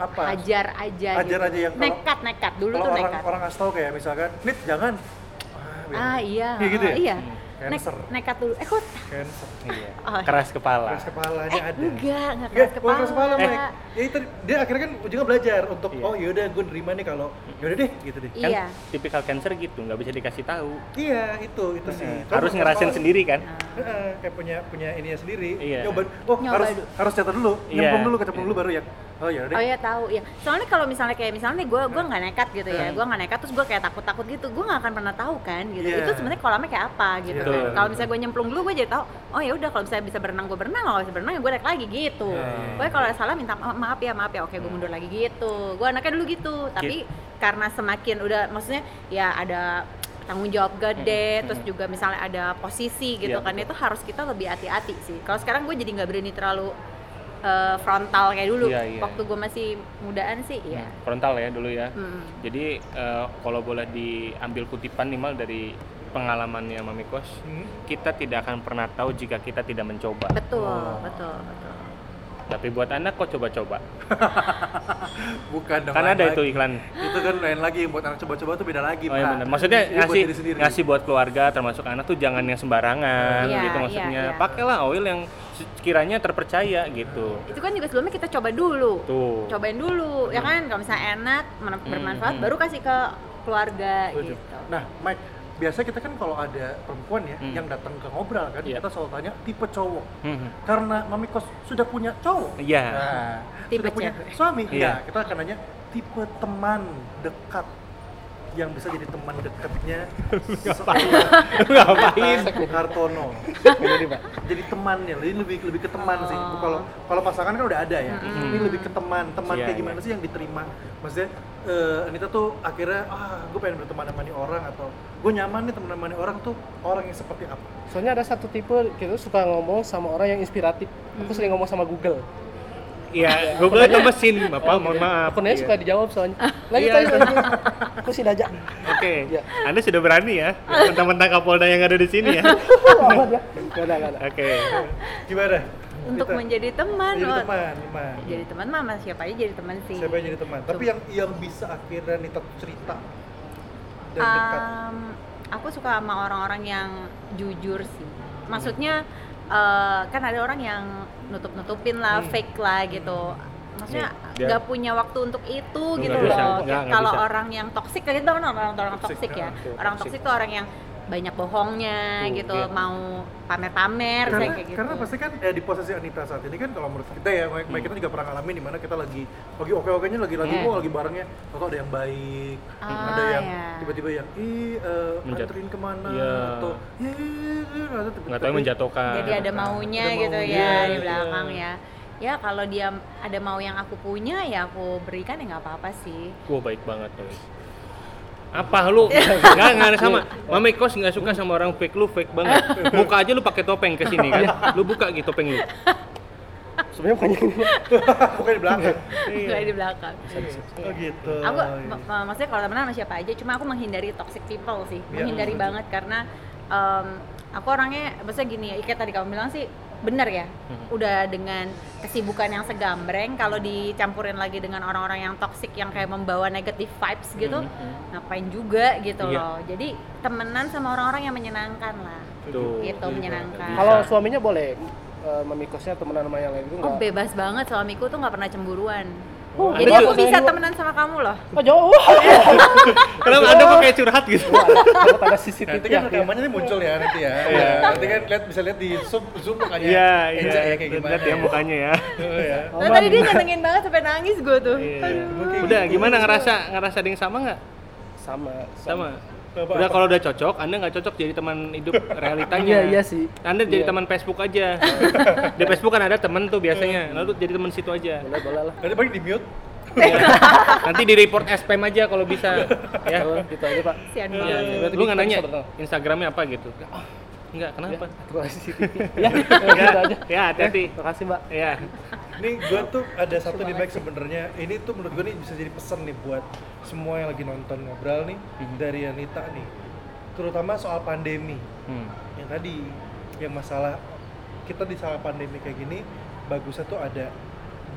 S2: apa
S1: Ajar aja
S2: Ajar
S1: gitu.
S2: aja yang kalau-
S1: nekat, nekat. Dulu
S2: kalau
S1: tuh
S2: orang
S1: nekat.
S2: orang ngasih tau kayak misalkan nit jangan ah, bilang,
S1: Ah iya,
S2: Iya gitu ya?
S1: iya.
S2: Hmm.
S1: Nek-
S2: Cancer.
S1: nekat dulu. Eh kok
S2: cancer
S3: Iya.
S1: Oh.
S3: Keras kepala.
S2: keras kepalanya ada
S1: Eh, enggak, enggak
S2: Nggak,
S1: keras kepala. Iya.
S2: bukan Eh, Iya, keras kepala, Mike. Ya, itu, dia akhirnya kan juga belajar untuk
S3: Iya.
S2: oh yaudah gue nerima nih kalau yaudah deh gitu deh.
S3: Kan
S1: Iya.
S3: tipikal cancer gitu, nggak bisa dikasih tahu. Hmm.
S2: Iya itu itu sih. Itu
S3: Harus
S2: keras
S3: ngerasain
S2: kepala.
S3: sendiri kan?
S2: Heeh, kayak punya punya ininya sendiri.
S3: Iya.
S2: Nyoba, oh
S1: Nyoba
S2: harus
S1: dulu.
S2: harus catat dulu,
S3: Iya.
S2: nyemplung dulu, kecemplung
S3: Iya.
S2: dulu baru ya. Oh yaudah
S1: Oh
S2: deh.
S1: iya tahu, ya. Soalnya kalau misalnya kayak misalnya nih gue gue nggak nekat gitu
S3: Hmm.
S1: ya, gue nggak nekat terus gue kayak takut-takut gitu, gue nggak akan pernah tahu kan gitu.
S2: Iya.
S1: Itu sebenarnya kolamnya kayak apa gitu.
S3: Betul.
S1: kan. Kalau misalnya gue nyemplung dulu gue jadi tahu, oh ya udah kalau misalnya bisa berenang gue berenang, kalau nggak bisa berenang ya gue naik lagi gitu.
S3: Iya.
S1: Gue kalau ada salah minta ma- maaf ya maaf ya, oke
S3: Hmm.
S1: gue mundur lagi gitu. Gue anaknya dulu gitu, tapi karena semakin udah maksudnya ya ada tanggung jawab gede, terus juga misalnya ada posisi gitu
S3: Hmm.
S1: kan
S3: Iya,
S1: itu harus kita lebih hati-hati sih. Kalau sekarang gue jadi nggak berani terlalu eh, frontal kayak dulu
S3: Iya, iya.
S1: waktu gue masih mudaan sih ya
S3: Frontal ya dulu ya.
S2: Hmm.
S1: Mm.
S3: Jadi eh, kalau boleh diambil kutipan nih mal dari pengalamannya Mami Kos,
S2: Hmm.
S3: kita tidak akan pernah tahu jika kita tidak mencoba.
S1: betul
S2: Oh.
S1: betul betul
S3: Tapi buat anak kok coba-coba.
S2: Bukan dong.
S3: Karena
S2: lain
S3: ada
S2: lagi.
S3: itu iklan.
S2: Itu kan lain lagi buat anak coba-coba tuh beda lagi.
S3: Oh iya
S2: Pak.
S3: benar. Maksudnya
S2: Ini buat
S3: ngasih
S2: diri sendiri.
S3: ngasih buat keluarga termasuk anak tuh jangan yang sembarangan
S1: Iya,
S3: gitu
S1: iya,
S3: maksudnya.
S1: iya.
S3: Pakailah oil yang sekiranya terpercaya gitu.
S1: itu kan juga sebelumnya kita coba dulu
S3: Tuh.
S1: cobain dulu
S2: Hmm.
S1: ya kan kalau misalnya enak men- bermanfaat
S3: mm.
S1: baru kasih ke keluarga
S2: Setuju.
S1: gitu
S2: Nah, Mike, biasanya kita kan kalau ada perempuan ya
S3: Hmm.
S2: yang datang ke ngobrol kan,
S3: Iya.
S2: kita selalu tanya tipe cowok.
S3: Hmm.
S2: Karena Mami Kos sudah punya cowok.
S3: Iya.
S2: Nah,
S1: Tipe
S2: sudah punya
S1: cewek.
S2: suami.
S3: Iya.
S2: Iya, kita akan nanya tipe teman dekat yang bisa jadi teman dekatnya
S3: Ngapain?
S2: Pak Kartono jadi temannya jadi lebih lebih ke teman sih
S1: Oh.
S2: kalau kalau pasangan kan udah ada ya
S1: Mm-mm.
S2: ini lebih ke teman teman
S3: Iya,
S2: kayak gimana
S3: iya.
S2: sih yang diterima maksudnya eh, Anita tuh akhirnya ah gue pengen berteman temani orang atau gue nyaman nih teman temani orang tuh orang yang seperti apa
S4: Soalnya ada satu tipe kita suka ngomong sama orang yang inspiratif.
S1: Hmm.
S4: Aku sering ngomong sama Google.
S3: Iya, Google itu mesin, Bapak, mohon maaf.
S4: Aku nanya
S3: Iya.
S4: suka dijawab soalnya.
S1: Ah.
S3: Iya.
S4: Lanjut lanjut lanjut. Aku sih aja.
S3: Oke.
S4: Iya.
S3: Anda sudah berani ya mentang-mentang Kapolda yang ada di sini ya.
S4: Aman ya. Gak ada gak ada.
S3: Oke.
S2: gimana
S1: untuk
S2: Anita?
S1: menjadi teman
S2: jadi
S1: oh.
S2: teman teman
S1: jadi teman mama siapa aja jadi teman sih
S2: siapa yang jadi teman tapi yang yang bisa akhirnya Anita cerita dan dekat
S1: Um, aku suka sama orang-orang yang jujur sih. Maksudnya eh, kan ada orang yang nutup-nutupin lah, fake lah gitu. Maksudnya
S3: Iya, Hmm. dia-
S1: nggak punya waktu untuk itu
S3: Nggak
S1: gitu
S3: bisa,
S1: loh.
S3: nggak- nggak
S1: Kalau
S3: bisa. Ah,
S1: orang gitu yang toksik kan itu orang orang, orang toksik ya.
S2: ya,
S1: Orang toksik itu orang yang banyak bohongnya
S3: Tuh,
S1: gitu
S3: iya.
S1: mau pamer-pamer
S2: karena,
S1: kayak gitu
S2: karena pasti kan ya, di posisi Anita saat ini kan kalau menurut kita ya, baik baik kita juga pernah ngalamin di mana kita lagi lagi oke-okenya lagi lagi
S1: Hmm.
S2: mau lagi barengnya, atau ada yang baik,
S1: Ah,
S2: ada yang
S1: iya.
S2: tiba-tiba yang ih eh,
S3: Menjat-
S2: anterin kemana
S3: Iya.
S2: atau "Ih, ih, ih," atau tiba-tiba-
S3: nggak tahu yang menjatuhkan
S1: jadi ada maunya
S2: Ada
S1: gitu
S2: maunya,
S1: ya di
S2: iya.
S1: belakang ya ya kalau dia ada mau yang aku punya ya aku berikan ya nggak apa-apa sih
S3: Wah baik banget tuh. Apa lu? Enggak, enggak ada sama. Mame kos nggak suka sama orang fake lu, fake banget. Buka aja lu pakai topeng ke sini kan. Lu buka gitu topeng lu.
S4: Sebenarnya bukan yang ini.
S2: bukan di belakang.
S1: nggak di belakang
S2: Iya. Oh gitu.
S1: aku
S2: Iya.
S1: ma- ma- maksudnya kalau temenan sama siapa aja cuma aku menghindari toxic people sih
S2: Iya,
S1: menghindari
S2: setuju.
S1: banget karena em, aku orangnya maksudnya gini ya kayak tadi kamu bilang sih bener ya
S2: Hmm.
S1: udah dengan kesibukan yang segambreng kalau dicampurin lagi dengan orang-orang yang toxic yang kayak membawa negative vibes gitu
S2: Hmm,
S1: ngapain juga gitu
S3: Iya.
S1: loh jadi temenan sama orang-orang yang menyenangkan lah
S2: Oh,
S3: Tuh.
S1: Gitu,
S2: iya.
S1: menyenangkan.
S4: Kalau
S3: Bisa.
S4: suaminya boleh eh, memikosnya temenan sama yang lain itu
S1: oh
S4: enggak?
S1: bebas banget suamiku tuh nggak pernah cemburuan
S4: Oh,
S1: jadi
S4: ada
S1: aku
S4: juga.
S1: bisa temenan sama kamu loh
S4: Oh, jauh.
S3: Kenapa ada pakai curhat gitu?
S4: Takut ada CCTV
S2: Nanti
S4: ya.
S2: kan rekamannya nih muncul ya nanti ya. Nanti kan lihat bisa lihat di zoom zoom mukanya.
S3: Iya,
S2: Eja
S3: iya.
S2: ya kayak gimana.
S3: Lihat ya mukanya ya.
S2: Oh, ya.
S1: Nah, tadi dia nyenengin banget sampai nangis gue tuh
S3: Iya.
S1: Aduh.
S3: Udah, gimana ngerasa ngerasa ada yang sama nggak?
S4: sama.
S3: Sama.
S2: Apa-
S3: Udah kalau udah cocok, Anda nggak cocok jadi teman hidup realitanya.
S4: Iya, iya sih.
S3: Anda jadi
S4: Iya.
S3: teman Facebook aja. Di Facebook kan ada temen tuh biasanya. Lalu jadi teman situ aja.
S4: Boleh, boleh lah.
S2: Nanti paling di mute.
S3: Ya. Nanti di report SPM aja kalau bisa. Ya.
S4: Boleh, gitu aja, Pak.
S1: Sian
S3: Iya,
S1: banget.
S4: berarti
S3: Lu
S4: kita
S3: nggak
S4: bisa
S3: nanya
S4: bertemu.
S3: Instagramnya apa gitu? Enggak, kenapa?
S4: Takut ada CCTV. Ya, gitu aja.
S3: Ya, hati-hati.
S4: Terima kasih, Mbak.
S3: Ya.
S2: Nih gue tuh ada satu di back sebenarnya. Ini tuh menurut gue nih bisa jadi pesan nih buat semua yang lagi nonton ngobrol nih
S3: Hmm.
S2: dari Anita nih. Terutama soal pandemi
S3: Hmm,
S2: yang tadi yang masalah kita di saat pandemi kayak gini bagusnya tuh ada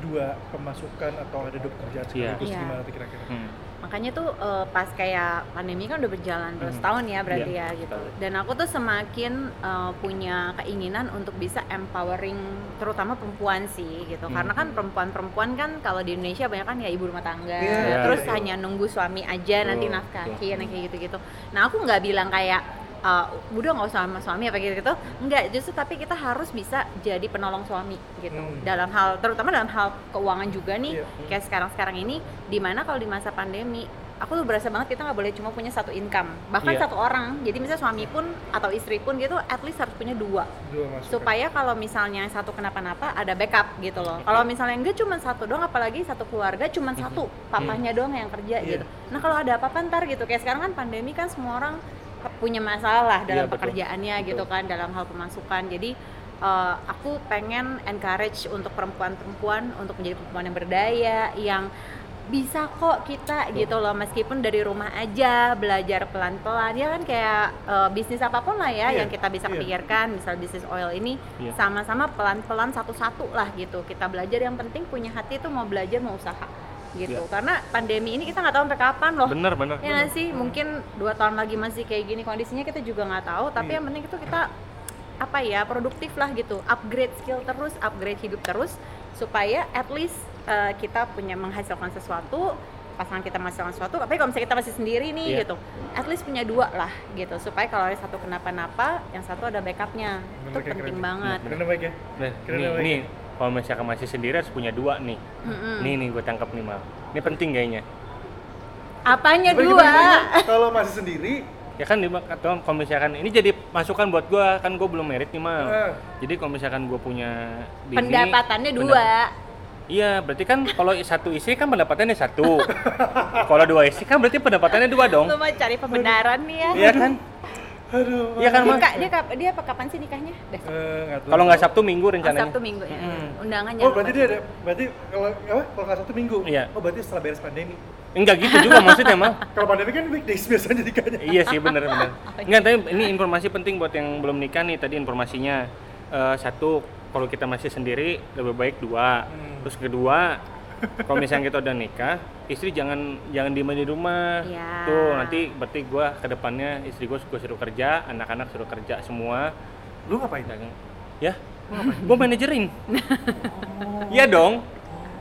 S2: dua pemasukan atau ada dua pekerjaan
S3: Iya.
S2: sekaligus
S1: Iya.
S2: gimana tuh kira-kira?
S3: hmm.
S1: makanya tuh eh, pas kayak pandemi kan udah berjalan
S2: Hmm.
S1: terus tahun ya berarti
S3: Iya,
S1: ya gitu
S3: setahun.
S1: dan aku tuh semakin eh, punya keinginan untuk bisa empowering terutama perempuan sih gitu karena
S2: Hmm.
S1: kan perempuan-perempuan kan kalau di Indonesia banyak kan ya ibu rumah tangga
S2: Iya,
S1: terus
S2: iya.
S1: hanya nunggu suami aja nanti
S3: Betul,
S1: nafkahin kayak gitu-gitu nah aku nggak bilang kayak eh, udah nggak usah sama suami apa gitu gitu nggak justru tapi kita harus bisa jadi penolong suami gitu
S2: Hmm.
S1: dalam hal terutama dalam hal keuangan juga nih
S2: Iya.
S1: kayak sekarang-sekarang ini dimana kalau di masa pandemi aku tuh berasa banget kita nggak boleh cuma punya satu income bahkan
S3: Iya.
S1: satu orang jadi misalnya suami pun atau istri pun gitu at least harus punya dua
S2: Dua masukan.
S1: supaya kalau misalnya yang satu kenapa-napa ada backup gitu loh kalau misalnya enggak cuma satu doang apalagi satu keluarga
S3: Mhm.
S1: cuma satu papahnya doang yang kerja
S2: Iya.
S1: gitu nah kalau ada apa-apa ntar gitu kayak sekarang kan pandemi kan semua orang punya masalah dalam
S3: Iya, betul.
S1: pekerjaannya gitu kan dalam hal pemasukan jadi eh, aku pengen encourage untuk perempuan-perempuan untuk menjadi perempuan yang berdaya yang bisa kok kita gitu loh meskipun dari rumah aja belajar pelan-pelan ya kan kayak eh, bisnis apapun lah ya
S2: Iya,
S1: yang kita bisa
S2: iya.
S1: pikirkan misal bisnis oil ini
S3: Iya.
S1: sama-sama pelan-pelan satu-satu lah gitu kita belajar yang penting punya hati itu mau belajar mau usaha gitu
S2: Iya.
S1: karena pandemi ini kita nggak tahu sampai kapan loh
S3: Bener, bener.
S1: ya nggak sih mungkin dua tahun lagi masih kayak gini kondisinya kita juga nggak tahu tapi
S2: Iya.
S1: yang penting itu kita apa ya produktif lah gitu upgrade skill terus upgrade hidup terus supaya at least eh, kita punya menghasilkan sesuatu pasangan kita menghasilkan sesuatu tapi kalau misalnya kita masih sendiri nih
S3: Iya.
S1: gitu at least punya dua lah gitu supaya kalau ada satu kenapa-napa yang satu ada backupnya itu
S2: Bener, kayak
S1: penting
S2: keren.
S1: banget
S2: Keren baik ya.
S3: Nih,
S2: Keren
S3: nih,
S2: banget.
S3: nih, kalau misalkan masih sendiri harus punya dua nih.
S1: Mm-mm.
S3: Nih nih gue tangkap nih mal. Ini penting kayaknya.
S1: apanya
S2: Gimana,
S1: dua
S2: gimana, gimana? Kalau masih sendiri,
S3: Ya kan dia atau kalau misalkan ini jadi masukan buat gue kan gue belum merit nih mal.
S2: eh,
S3: Jadi kalau misalkan gue punya bini,
S1: pendapatannya dua
S3: pendapat- Iya, berarti kan kalau satu istri kan pendapatannya satu. kalau dua istri kan berarti pendapatannya dua dong.
S1: lu mau cari pembenaran nih ya
S3: Iya kan?
S2: aduh.
S3: Iya kan,
S1: dia,
S3: Mal?
S1: ka- dia, kap- dia apa kapan sih nikahnya besok
S2: Eh, tahu.
S3: Kalau nggak Sabtu Minggu
S1: Oh,
S3: rencananya.
S1: Sabtu Minggu ya.
S3: Hmm.
S1: Undangan
S2: Oh
S1: jangan
S2: berarti
S1: lupa.
S2: dia ada, berarti kalau apa? Kalau nggak satu minggu.
S3: Iya.
S2: Oh berarti setelah beres pandemi.
S3: Enggak gitu juga maksudnya, Mal.
S2: Kalau pandemi kan weekdays biasanya nikahnya.
S3: Iya sih, bener bener. Enggak, tapi ini informasi penting buat yang belum nikah nih tadi informasinya. Eh, satu, kalau kita masih sendiri lebih baik dua. Terus kedua, kalau misalnya kita udah nikah, istri jangan jangan diem aja di rumah.
S1: Iya.
S3: Tuh, nanti berarti gua ke depannya istri gua gua suruh kerja, anak-anak suruh kerja semua.
S2: Lu ngapain?
S3: Dagang. Ya? Gua manajerin. Iya dong.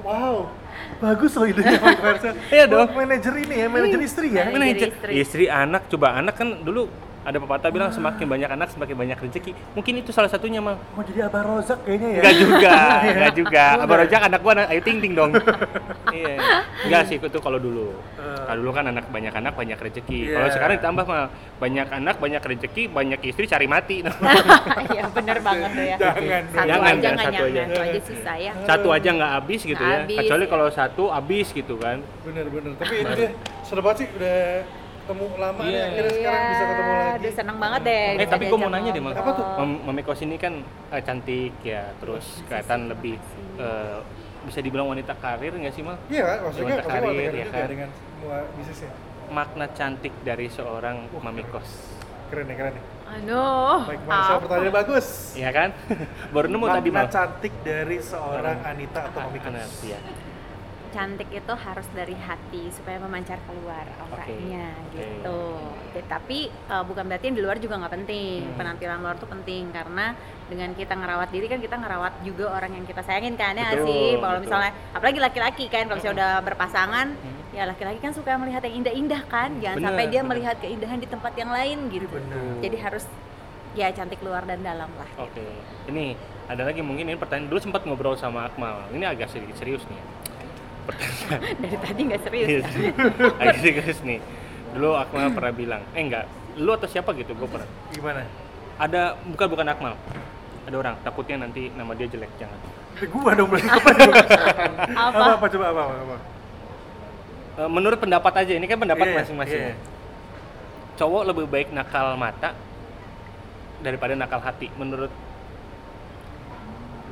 S2: Wow, bagus loh idenya Pak Koersa.
S3: Iya dong.
S2: Buat Manajer ini ya, manajer istri ya.
S1: Manajer
S3: Manajer.
S1: istri.
S3: Istri anak coba anak kan dulu ada pepatah bilang semakin banyak anak semakin banyak rezeki. Mungkin itu salah satunya, Mang.
S6: Mau jadi abah rozak kayaknya ya.
S3: Enggak juga, enggak juga. Abang Rojak anak gua anak ayu ting ting dong. Iya. Enggak sih itu kalau dulu. Kalau dulu kan anak banyak anak banyak rezeki. Kalau
S6: Iya.
S3: sekarang ditambah mah banyak anak banyak rezeki, banyak istri cari mati.
S1: Iya bener banget tuh ya.
S2: Jangan
S1: Satu aja
S3: Jangan, jangan,
S1: nggak
S3: satu aja.
S1: nyaman, satu aja sih sayang.
S3: satu aja nggak habis gitu
S1: Nggak
S3: ya.
S1: habis,
S3: Kecuali
S1: ya.
S3: kalau satu habis gitu kan.
S2: bener-bener tapi itu deh seru banget sih udah ketemu lama nih
S3: Iya.
S2: akhirnya sekarang bisa ketemu lagi
S1: Aduh seneng banget deh.
S3: Eh, tapi gua mau nanya deh, Mang.
S2: Apa tuh?
S3: Mem Memeko sini kan eh, cantik ya, terus
S1: Iya,
S3: kelihatan lebih eh, bisa dibilang wanita karir nggak sih, Mal?
S2: iya kan maksudnya
S3: Wanita
S2: kamu wanita
S3: karir,
S2: karir
S3: ya
S2: juga
S3: kan?
S2: dengan semua ya. bisnisnya
S3: Makna cantik dari seorang mamikos.
S2: keren nih keren nih
S1: Aduh.
S2: baik Marcel pertanyaan bagus
S3: Iya kan? Baru nemu tadi,
S2: makna
S3: Mal.
S2: cantik dari seorang Anita atau Mami
S3: Benar, iya.
S1: cantik itu harus dari hati supaya memancar keluar auranya
S3: Oke.
S1: gitu. Ya, tapi eh, bukan berarti yang di luar juga nggak penting.
S3: Hmm.
S1: Penampilan luar tuh penting karena dengan kita ngerawat diri kan kita ngerawat juga orang yang kita sayangin kan ya nggak
S3: Betul,
S1: sih. Kalau
S3: betul. Hmm.
S1: misalnya apalagi laki-laki kan kalau misalnya udah berpasangan ya laki-laki kan suka melihat yang indah-indah kan. Jangan
S3: Bener,
S1: sampai dia
S3: bener.
S1: melihat keindahan di tempat yang lain
S3: Iya,
S1: gitu. Jadi harus ya cantik luar dan dalam lah.
S3: Oke. Ini ada lagi mungkin ini pertanyaan dulu sempat ngobrol sama Akmal. Ini agak sedikit serius nih.
S1: Dari tadi nggak serius. ya?
S3: Iya, agak serius nih. Dulu Akmal pernah bilang, eh enggak, lu atau siapa gitu gue pernah.
S2: gimana
S3: Ada bukan bukan Akmal. Ada orang takutnya nanti nama dia jelek jangan.
S2: Eh,
S6: Gua dong berarti.
S1: Apa?
S6: Apa apa coba apa apa. apa?
S3: Eh, menurut pendapat aja, ini kan pendapat
S6: Iya,
S3: masing-masing.
S6: iya.
S3: Cowok lebih baik nakal mata daripada nakal hati menurut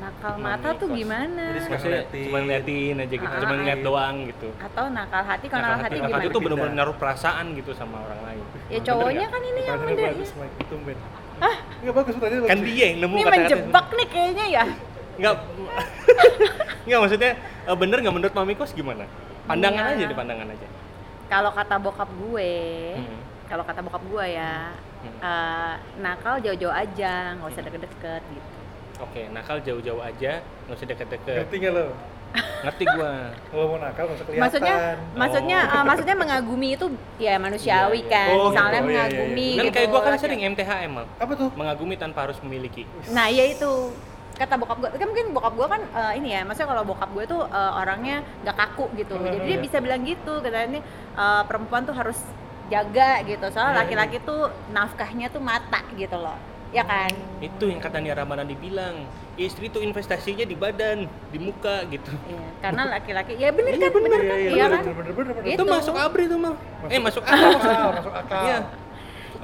S1: Nakal mata tuh
S3: Mamikos.
S1: gimana?
S6: Jadi
S3: maksudnya
S6: ngeliatin.
S3: cuma ngeliatin aja gitu,
S1: Ah,
S3: cuma ngeliat
S6: iya.
S3: doang gitu.
S1: atau nakal hati kalau nakal hati
S3: Nakal
S1: gimana?
S3: hati tuh benar-benar naruh perasaan gitu sama orang lain.
S1: ya cowoknya kan ini yang
S2: pertanyaan
S1: bener
S2: bagus Mike tumben nggak bagus pertanyaan
S3: Kan
S2: bagus
S3: dia yang nemu
S1: ini
S3: kata-kata.
S1: menjebak nih kayaknya ya
S3: Enggak. Enggak maksudnya eh, bener nggak menurut Mamikos gimana? Pandangan
S1: Iya.
S3: aja deh, pandangan aja.
S1: kalau kata bokap gue
S3: Hmm.
S1: kalau kata bokap gue ya
S3: Hmm.
S1: eh, nakal jauh-jauh aja nggak usah deket-deket gitu
S3: Oke, nakal jauh-jauh aja, nggak usah deket-deket.
S2: ngerti nggak lo
S3: Ngerti gua.
S2: kalau mau nakal nggak usah kelihatan
S1: maksudnya
S3: Oh.
S1: maksudnya eh, maksudnya mengagumi itu ya manusiawi
S3: Iya, iya.
S1: kan
S2: Oh,
S1: misalnya
S2: gitu. Iya, iya, iya.
S1: mengagumi
S3: Dan
S1: gitu
S3: kayak gua kan
S1: laki-
S3: sering MTHM, Mal.
S2: apa tuh
S3: mengagumi tanpa harus memiliki.
S1: Nah, ya itu kata bokap gue, kan mungkin bokap gue kan eh, ini ya, maksudnya kalau bokap gue tuh eh, orangnya nggak kaku gitu,
S2: Hmm,
S1: jadi
S2: iya.
S1: dia bisa bilang gitu, katanya eh, perempuan tuh harus jaga gitu,
S2: Hmm.
S1: soalnya laki-laki tuh nafkahnya tuh mata gitu loh, ya kan?
S2: Hmm.
S3: Itu yang kata Nia Ramadhani bilang, istri tuh investasinya di badan, di muka gitu.
S1: Iya, karena laki-laki, ya bener kan, bener,
S2: Iya,
S1: kan,
S2: iya,
S1: iya
S2: bener,
S1: kan?
S2: bener, bener, bener, bener.
S1: Itu.
S3: Itu, masuk abri tuh, Mal. Eh, masuk abri.
S2: Masuk akal, masuk akal.
S3: Iya.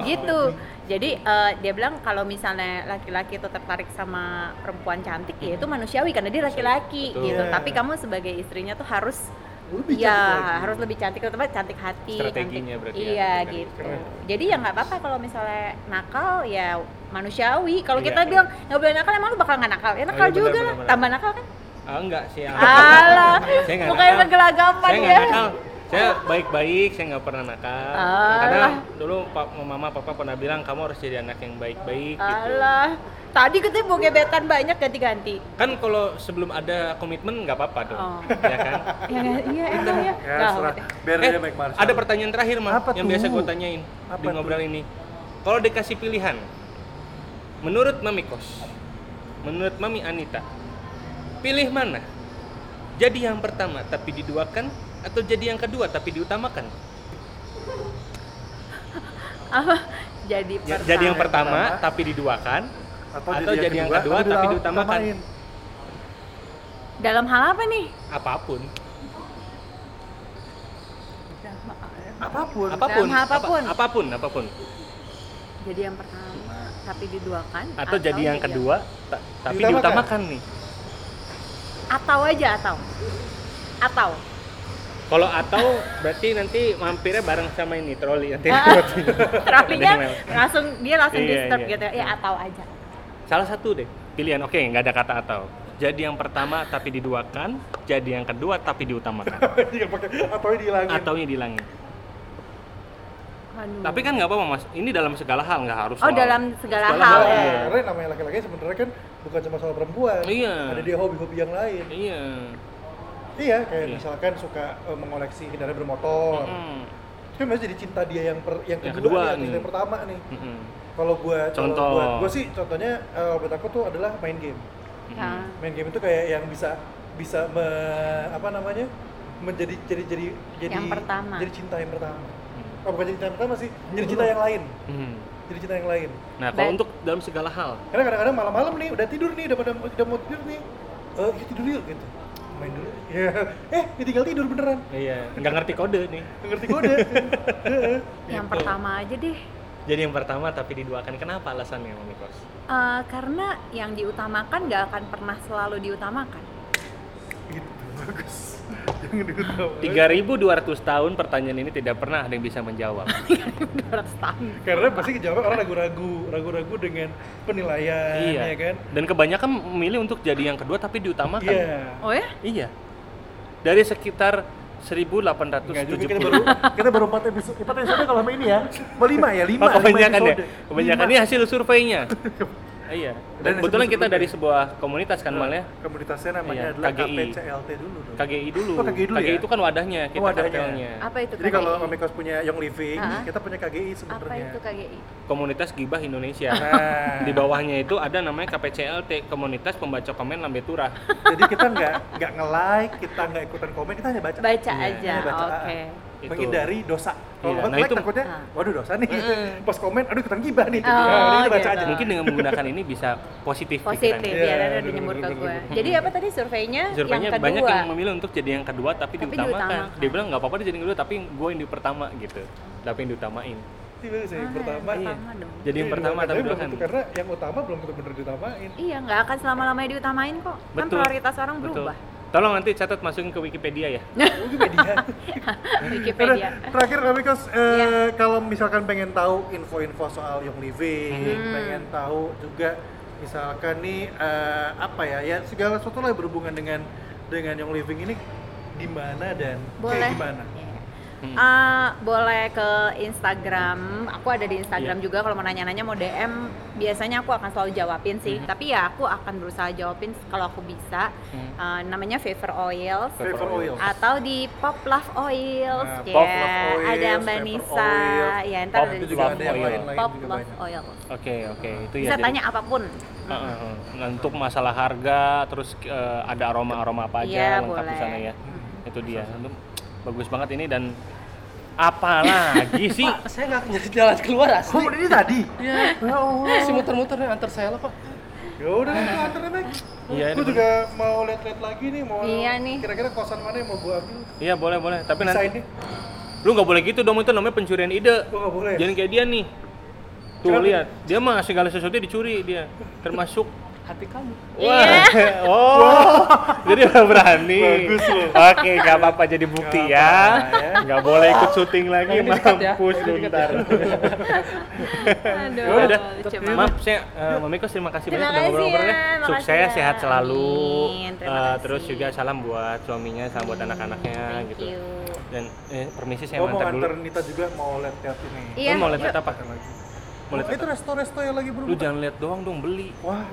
S1: gitu jadi eh, dia bilang kalau misalnya laki-laki itu tertarik sama perempuan cantik ya itu manusiawi karena dia laki-laki
S3: Betul.
S1: gitu
S2: Hmm. Iya.
S1: tapi kamu sebagai istrinya tuh harus
S2: Lebih
S1: ya
S2: cantik lagi.
S1: harus lebih cantik terutama cantik hati
S3: Strateginya
S1: cantik-
S3: berarti ya,
S1: iya
S3: dari
S1: gitu
S2: keren.
S1: jadi ya nggak apa-apa kalau misalnya nakal ya manusiawi kalau
S3: Iya,
S1: kita
S3: iya.
S1: bilang nggak boleh nakal emang lu bakal nggak nakal ya nakal
S3: iya, benar,
S1: juga
S3: benar,
S1: lah
S3: benar.
S1: tambah nakal kan
S3: Ah, enggak sih.
S1: alah
S3: Saya nggak
S1: mukanya
S3: nakal.
S1: menggelagapan
S3: Saya
S1: ya
S3: nggak nakal. Saya baik-baik, saya nggak pernah nakal.
S1: Alah.
S3: Karena dulu pa- mama papa pernah bilang kamu harus jadi anak yang baik-baik
S1: Ah.
S3: gitu.
S1: alah tadi kita mau gebetan banyak ganti-ganti
S3: Kan kalau sebelum ada komitmen nggak apa-apa dong,
S1: Oh.
S3: ya kan?
S1: ya, nggak- iya emang ya,
S6: Ya,
S1: Nggak,
S6: serah. Biar
S3: Eh,
S6: dia baik Marcel.
S3: ada pertanyaan terakhir mah
S6: Apa
S3: yang
S6: tuh?
S3: biasa gue tanyain
S6: Apa
S3: di ngobrol ini. Kalau dikasih pilihan, menurut Mami Kos, menurut Mami Anita, pilih mana? Jadi yang pertama tapi diduakan atau jadi yang kedua tapi diutamakan?
S1: apa jadi
S3: Ya,
S1: pertama.
S3: jadi yang pertama tapi diduakan atau, jadi, yang kedua, tapi diutamakan
S6: utamain.
S1: dalam hal apa nih
S3: apapun.
S6: Apapun.
S3: Apapun,
S1: Dalam hal apapun.
S3: apa- apapun, apapun.
S1: jadi yang pertama tapi diduakan
S3: Atau, jadi
S1: iya.
S3: yang kedua ta- tapi
S2: Diutamakan.
S3: diutamakan nih.
S1: atau aja atau atau
S3: Kalau atau berarti nanti mampirnya bareng sama ini troli nanti.
S1: terapinya
S3: Iya. Ada yang lewat.
S1: Eh, langsung dia langsung
S3: Iya,
S1: disturb
S3: iya.
S1: gitu ya atau aja
S3: Salah satu deh pilihan. Oke, nggak ada kata atau. Jadi yang pertama tapi diduakan, jadi yang kedua tapi diutamakan.
S2: Jangan pakai atau dihilangin.
S3: Ataunya dihilangin.
S1: Aduh.
S3: Tapi kan nggak apa-apa mas. Ini dalam segala hal nggak harus.
S1: oh
S3: soal-
S1: dalam segala,
S3: segala
S1: hal,
S3: hal,
S1: ya
S3: iya.
S2: Karena namanya laki-laki sebenarnya kan bukan cuma soal perempuan.
S3: Iya.
S2: Ada dia hobi-hobi yang lain.
S3: Iya.
S2: Iya, kayak
S3: Iya.
S2: misalkan suka eh, mengoleksi kendaraan bermotor.
S3: Mm.
S2: Tapi maksudnya jadi cinta dia yang per- yang kedua,
S3: Yang kedua
S2: nih, atau
S3: nih.
S2: yang pertama nih.
S3: Mm-mm.
S2: Kalau gua kalau
S3: Contoh.
S2: buat gua sih contohnya eh, buat aku tuh adalah main game.
S1: Nah,
S3: Hmm.
S2: Main game itu kayak yang bisa bisa me- apa namanya? menjadi jadi jadi jadi
S1: Yang pertama.
S2: jadi cinta yang pertama. Oh, bukan jadi cinta yang pertama sih, jadi cinta yang lain.
S3: Mm.
S2: Jadi cinta yang lain.
S3: Nah, kalau
S1: Baik.
S3: untuk dalam segala hal,
S2: Karena kadang-kadang malam-malam nih udah tidur nih, udah pada udah mau tidur nih. Eh, yuk tidur yuk gitu. Main dulu. Ya. Eh, ditinggal tidur beneran.
S3: iya, nggak ngerti kode nih.
S2: Nggak ngerti kode. Heeh.
S1: yang
S3: Gitu.
S1: pertama aja deh.
S3: Jadi yang pertama tapi diduakan. Kenapa alasannya, Mami Kos?
S1: Eh, karena yang diutamakan nggak akan pernah selalu diutamakan.
S2: Gitu,
S3: tahun pertanyaan ini tidak pernah ada yang bisa menjawab.
S1: 200 tahun.
S2: Karena pasti kejawab orang ragu-ragu, ragu-ragu dengan penilaian ya kan.
S3: Iya. Dan kebanyakan memilih untuk jadi yang kedua tapi diutamakan.
S2: Iya.
S1: Oh ya?
S3: Iya. Dari sekitar
S2: Enggak juga
S3: 1870.
S2: kita baru
S6: Kita baru 4 episode, 4 episode kalau sama ini ya. Mau 5 ya, 5.
S3: Oh, kebanyakan ya.
S6: Iya.
S3: Kebanyakan ini hasil surveinya. iya. Dan
S6: Dan
S3: kebetulan kita
S6: sebelum-sebelumnya.
S3: dari sebuah komunitas kan Mal ya.
S6: Komunitasnya namanya
S3: Iya,
S6: adalah
S3: KGI.
S6: KPCLT dulu dong.
S3: KGI dulu.
S6: Oh, KGI dulu ya?
S3: itu kan wadahnya kita
S6: Oh, wadahnya.
S3: kartelnya.
S1: Apa itu
S6: Jadi
S1: KGI?
S6: kalau Omikos punya Young Living,
S1: Ah.
S6: kita punya KGI
S1: Apa
S6: sebenarnya.
S1: itu KGI?
S3: Komunitas Gibah Indonesia.
S6: Nah,
S3: Di bawahnya itu ada namanya KPCLT, Komunitas Pembaca Komen Lambe Turah.
S6: jadi kita nggak nggak nge-like, kita nggak ikutan komen, kita hanya baca.
S1: Baca
S3: Iya,
S1: aja.
S6: hanya bacaan.
S1: Oke.
S3: Itu.
S6: Menghindari dosa. Kalau
S3: Iya,
S6: bukan
S3: nah
S6: like
S3: itu-
S6: takutnya,
S1: Ah.
S6: waduh dosa nih. Pas komen, aduh ikutan gibah nih.
S1: Oh,
S6: Nah, ini baca
S1: gitu.
S6: aja.
S3: Mungkin dengan menggunakan ini bisa positif. gitu kan.
S1: Positif ya,
S3: pikirannya.
S2: Iya,
S1: ada udah
S2: bener,
S1: nyebut ke
S2: bener,
S1: gue.
S2: bener.
S1: Jadi apa tadi surveinya?
S3: Surveinya
S1: yang kedua. Ah,
S3: banyak yang memilih untuk jadi yang kedua tapi,
S1: Tapi
S3: diutamakan.
S1: diutamakan.
S3: Dia bilang nggak apa-apa dia jadi yang kedua tapi gue yang di pertama gitu. Tapi yang diutamain.
S2: sih bagus ya,
S1: Ah,
S2: yang pertama.
S3: Iya.
S1: yang pertama dong.
S2: Iya,
S3: Jadi yang pertama tapi
S2: tapi belum
S3: diutamakan.
S2: tentu- karena yang utama belum tentu bener ditamain.
S1: Iya, nggak akan selama-lamanya diutamain kok. Kan
S3: Betul.
S1: prioritas orang
S3: Betul.
S1: berubah.
S3: Tolong nanti catat masukin ke Wikipedia ya.
S2: Mungkin media.
S6: Yaudah,
S1: Wikipedia.
S6: terakhir Amikos, eh,
S1: Iya.
S6: kalau misalkan pengen tahu info-info soal Young Living,
S1: Hmm.
S6: pengen tahu juga misalkan nih eh, apa ya, ya segala sesuatu lah yang berhubungan dengan dengan Young Living ini di mana dan
S1: Boleh.
S6: kayak gimana?
S1: Iya.
S3: Hmm.
S1: Ah, boleh ke Instagram. Aku ada di
S6: Iya.
S1: Instagram juga kalau mau nanya-nanya mau DM biasanya aku akan selalu jawabin sih.
S6: Mm-hmm.
S3: Mhm.
S1: Tapi ya aku akan berusaha jawabin kalau aku bisa.
S3: Hmm.
S1: Ah, namanya Favor Oils
S6: Favor oil.
S1: atau di Pop Love Oils.
S6: Nah,
S1: ya.
S6: Pop Love Oils,
S1: ada Mbak
S6: Favor
S1: Nisa.
S6: Oils.
S1: Ya, ntar
S3: Pop
S1: ada
S6: Itu
S1: di
S6: juga
S3: Love
S6: ada yang
S3: oil.
S6: lain-lain
S1: Pop
S6: juga
S1: Love
S6: banyak.
S1: Oils.
S3: Oke, oke. Itu ya.
S1: Bisa
S3: jadi-
S1: tanya apapun.
S3: Heeh, heeh. Nah, untuk masalah harga terus eh, ada aroma-aroma apa aja
S1: Iya,
S3: lengkap di
S1: boleh. Hmm.
S3: sana ya. Itu dia. Lu- Bagus banget ini dan apalagi sih?
S4: Saya nggak nyari jalan keluar
S6: Oh, ini
S4: asli.
S6: tadi? Ya Allah.
S4: Masih muter-muter nih antar saya lah kok.
S2: Ya udah nih, antar deh, Meg. Gua
S3: Iya, ini
S2: juga mau lihat-lihat lagi nih, mau
S1: Iya nih.
S2: kira-kira kosan mana yang mau gua ambil.
S3: Iya, boleh, boleh. Tapi nanti
S2: Desainnya
S3: lu nggak boleh gitu dong itu namanya pencurian ide.
S2: gua nggak boleh.
S6: ya?
S3: Jangan kayak dia nih. Tuh
S2: Kenapa?
S3: lihat, dia mah segala sesuatu dicuri dia, termasuk
S4: Hati kamu.
S1: Iya.
S3: Wah, oh, jadi udah berani.
S6: Bagus loh.
S3: Oke, nggak apa-apa jadi bukti
S6: Nggak
S3: ya.
S6: apa-apa ya.
S3: Nggak boleh ikut syuting lagi,
S4: Ini di-cut ya.
S3: mampus
S4: Ini
S3: lu
S4: di-cut
S3: ntar.
S1: Aduh,
S3: Ya udah,
S1: lucu banget.
S3: maaf saya, eh, Mami Kos terima kasih
S1: Terima
S3: banyak udah
S1: kasih
S3: ngobrol-ngobrolnya.
S1: ya, makasih
S3: Sukses,
S1: ya.
S3: sehat selalu.
S1: Amin, terima
S3: Eh,
S1: kasih.
S3: terus juga salam buat suaminya, salam buat anak-anaknya
S6: Ya,
S1: Thank
S3: gitu.
S1: you.
S3: Dan eh, permisi saya
S6: Gua Oh, mau
S3: mau antar dulu.
S6: antar Nita juga mau lihat-lihat ini.
S1: Iya.
S3: Lu mau lihat
S1: yuk.
S3: apa? Mau
S6: Oh,
S3: lihat
S6: itu
S3: apa?
S6: resto-resto yang lagi
S3: Lu
S6: berhubungan.
S3: jangan lihat doang dong, beli.
S6: Wah,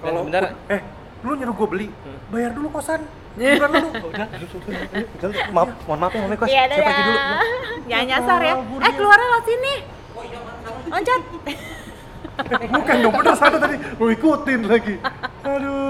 S3: Dan Hmm.
S6: kalau
S3: bentar,
S6: eh lu nyuruh gue beli, bayar dulu kosan. Bukan lu. Udah, maaf, mohon maaf ya, Mami Kos.
S1: Iya, dadah. Jangan nyasar ya.
S6: kabur
S1: Eh,
S6: dia.
S1: keluarnya lewat sini. Loncat.
S6: Bukan dong, bener sana tadi. Lu ikutin lagi. Aduh.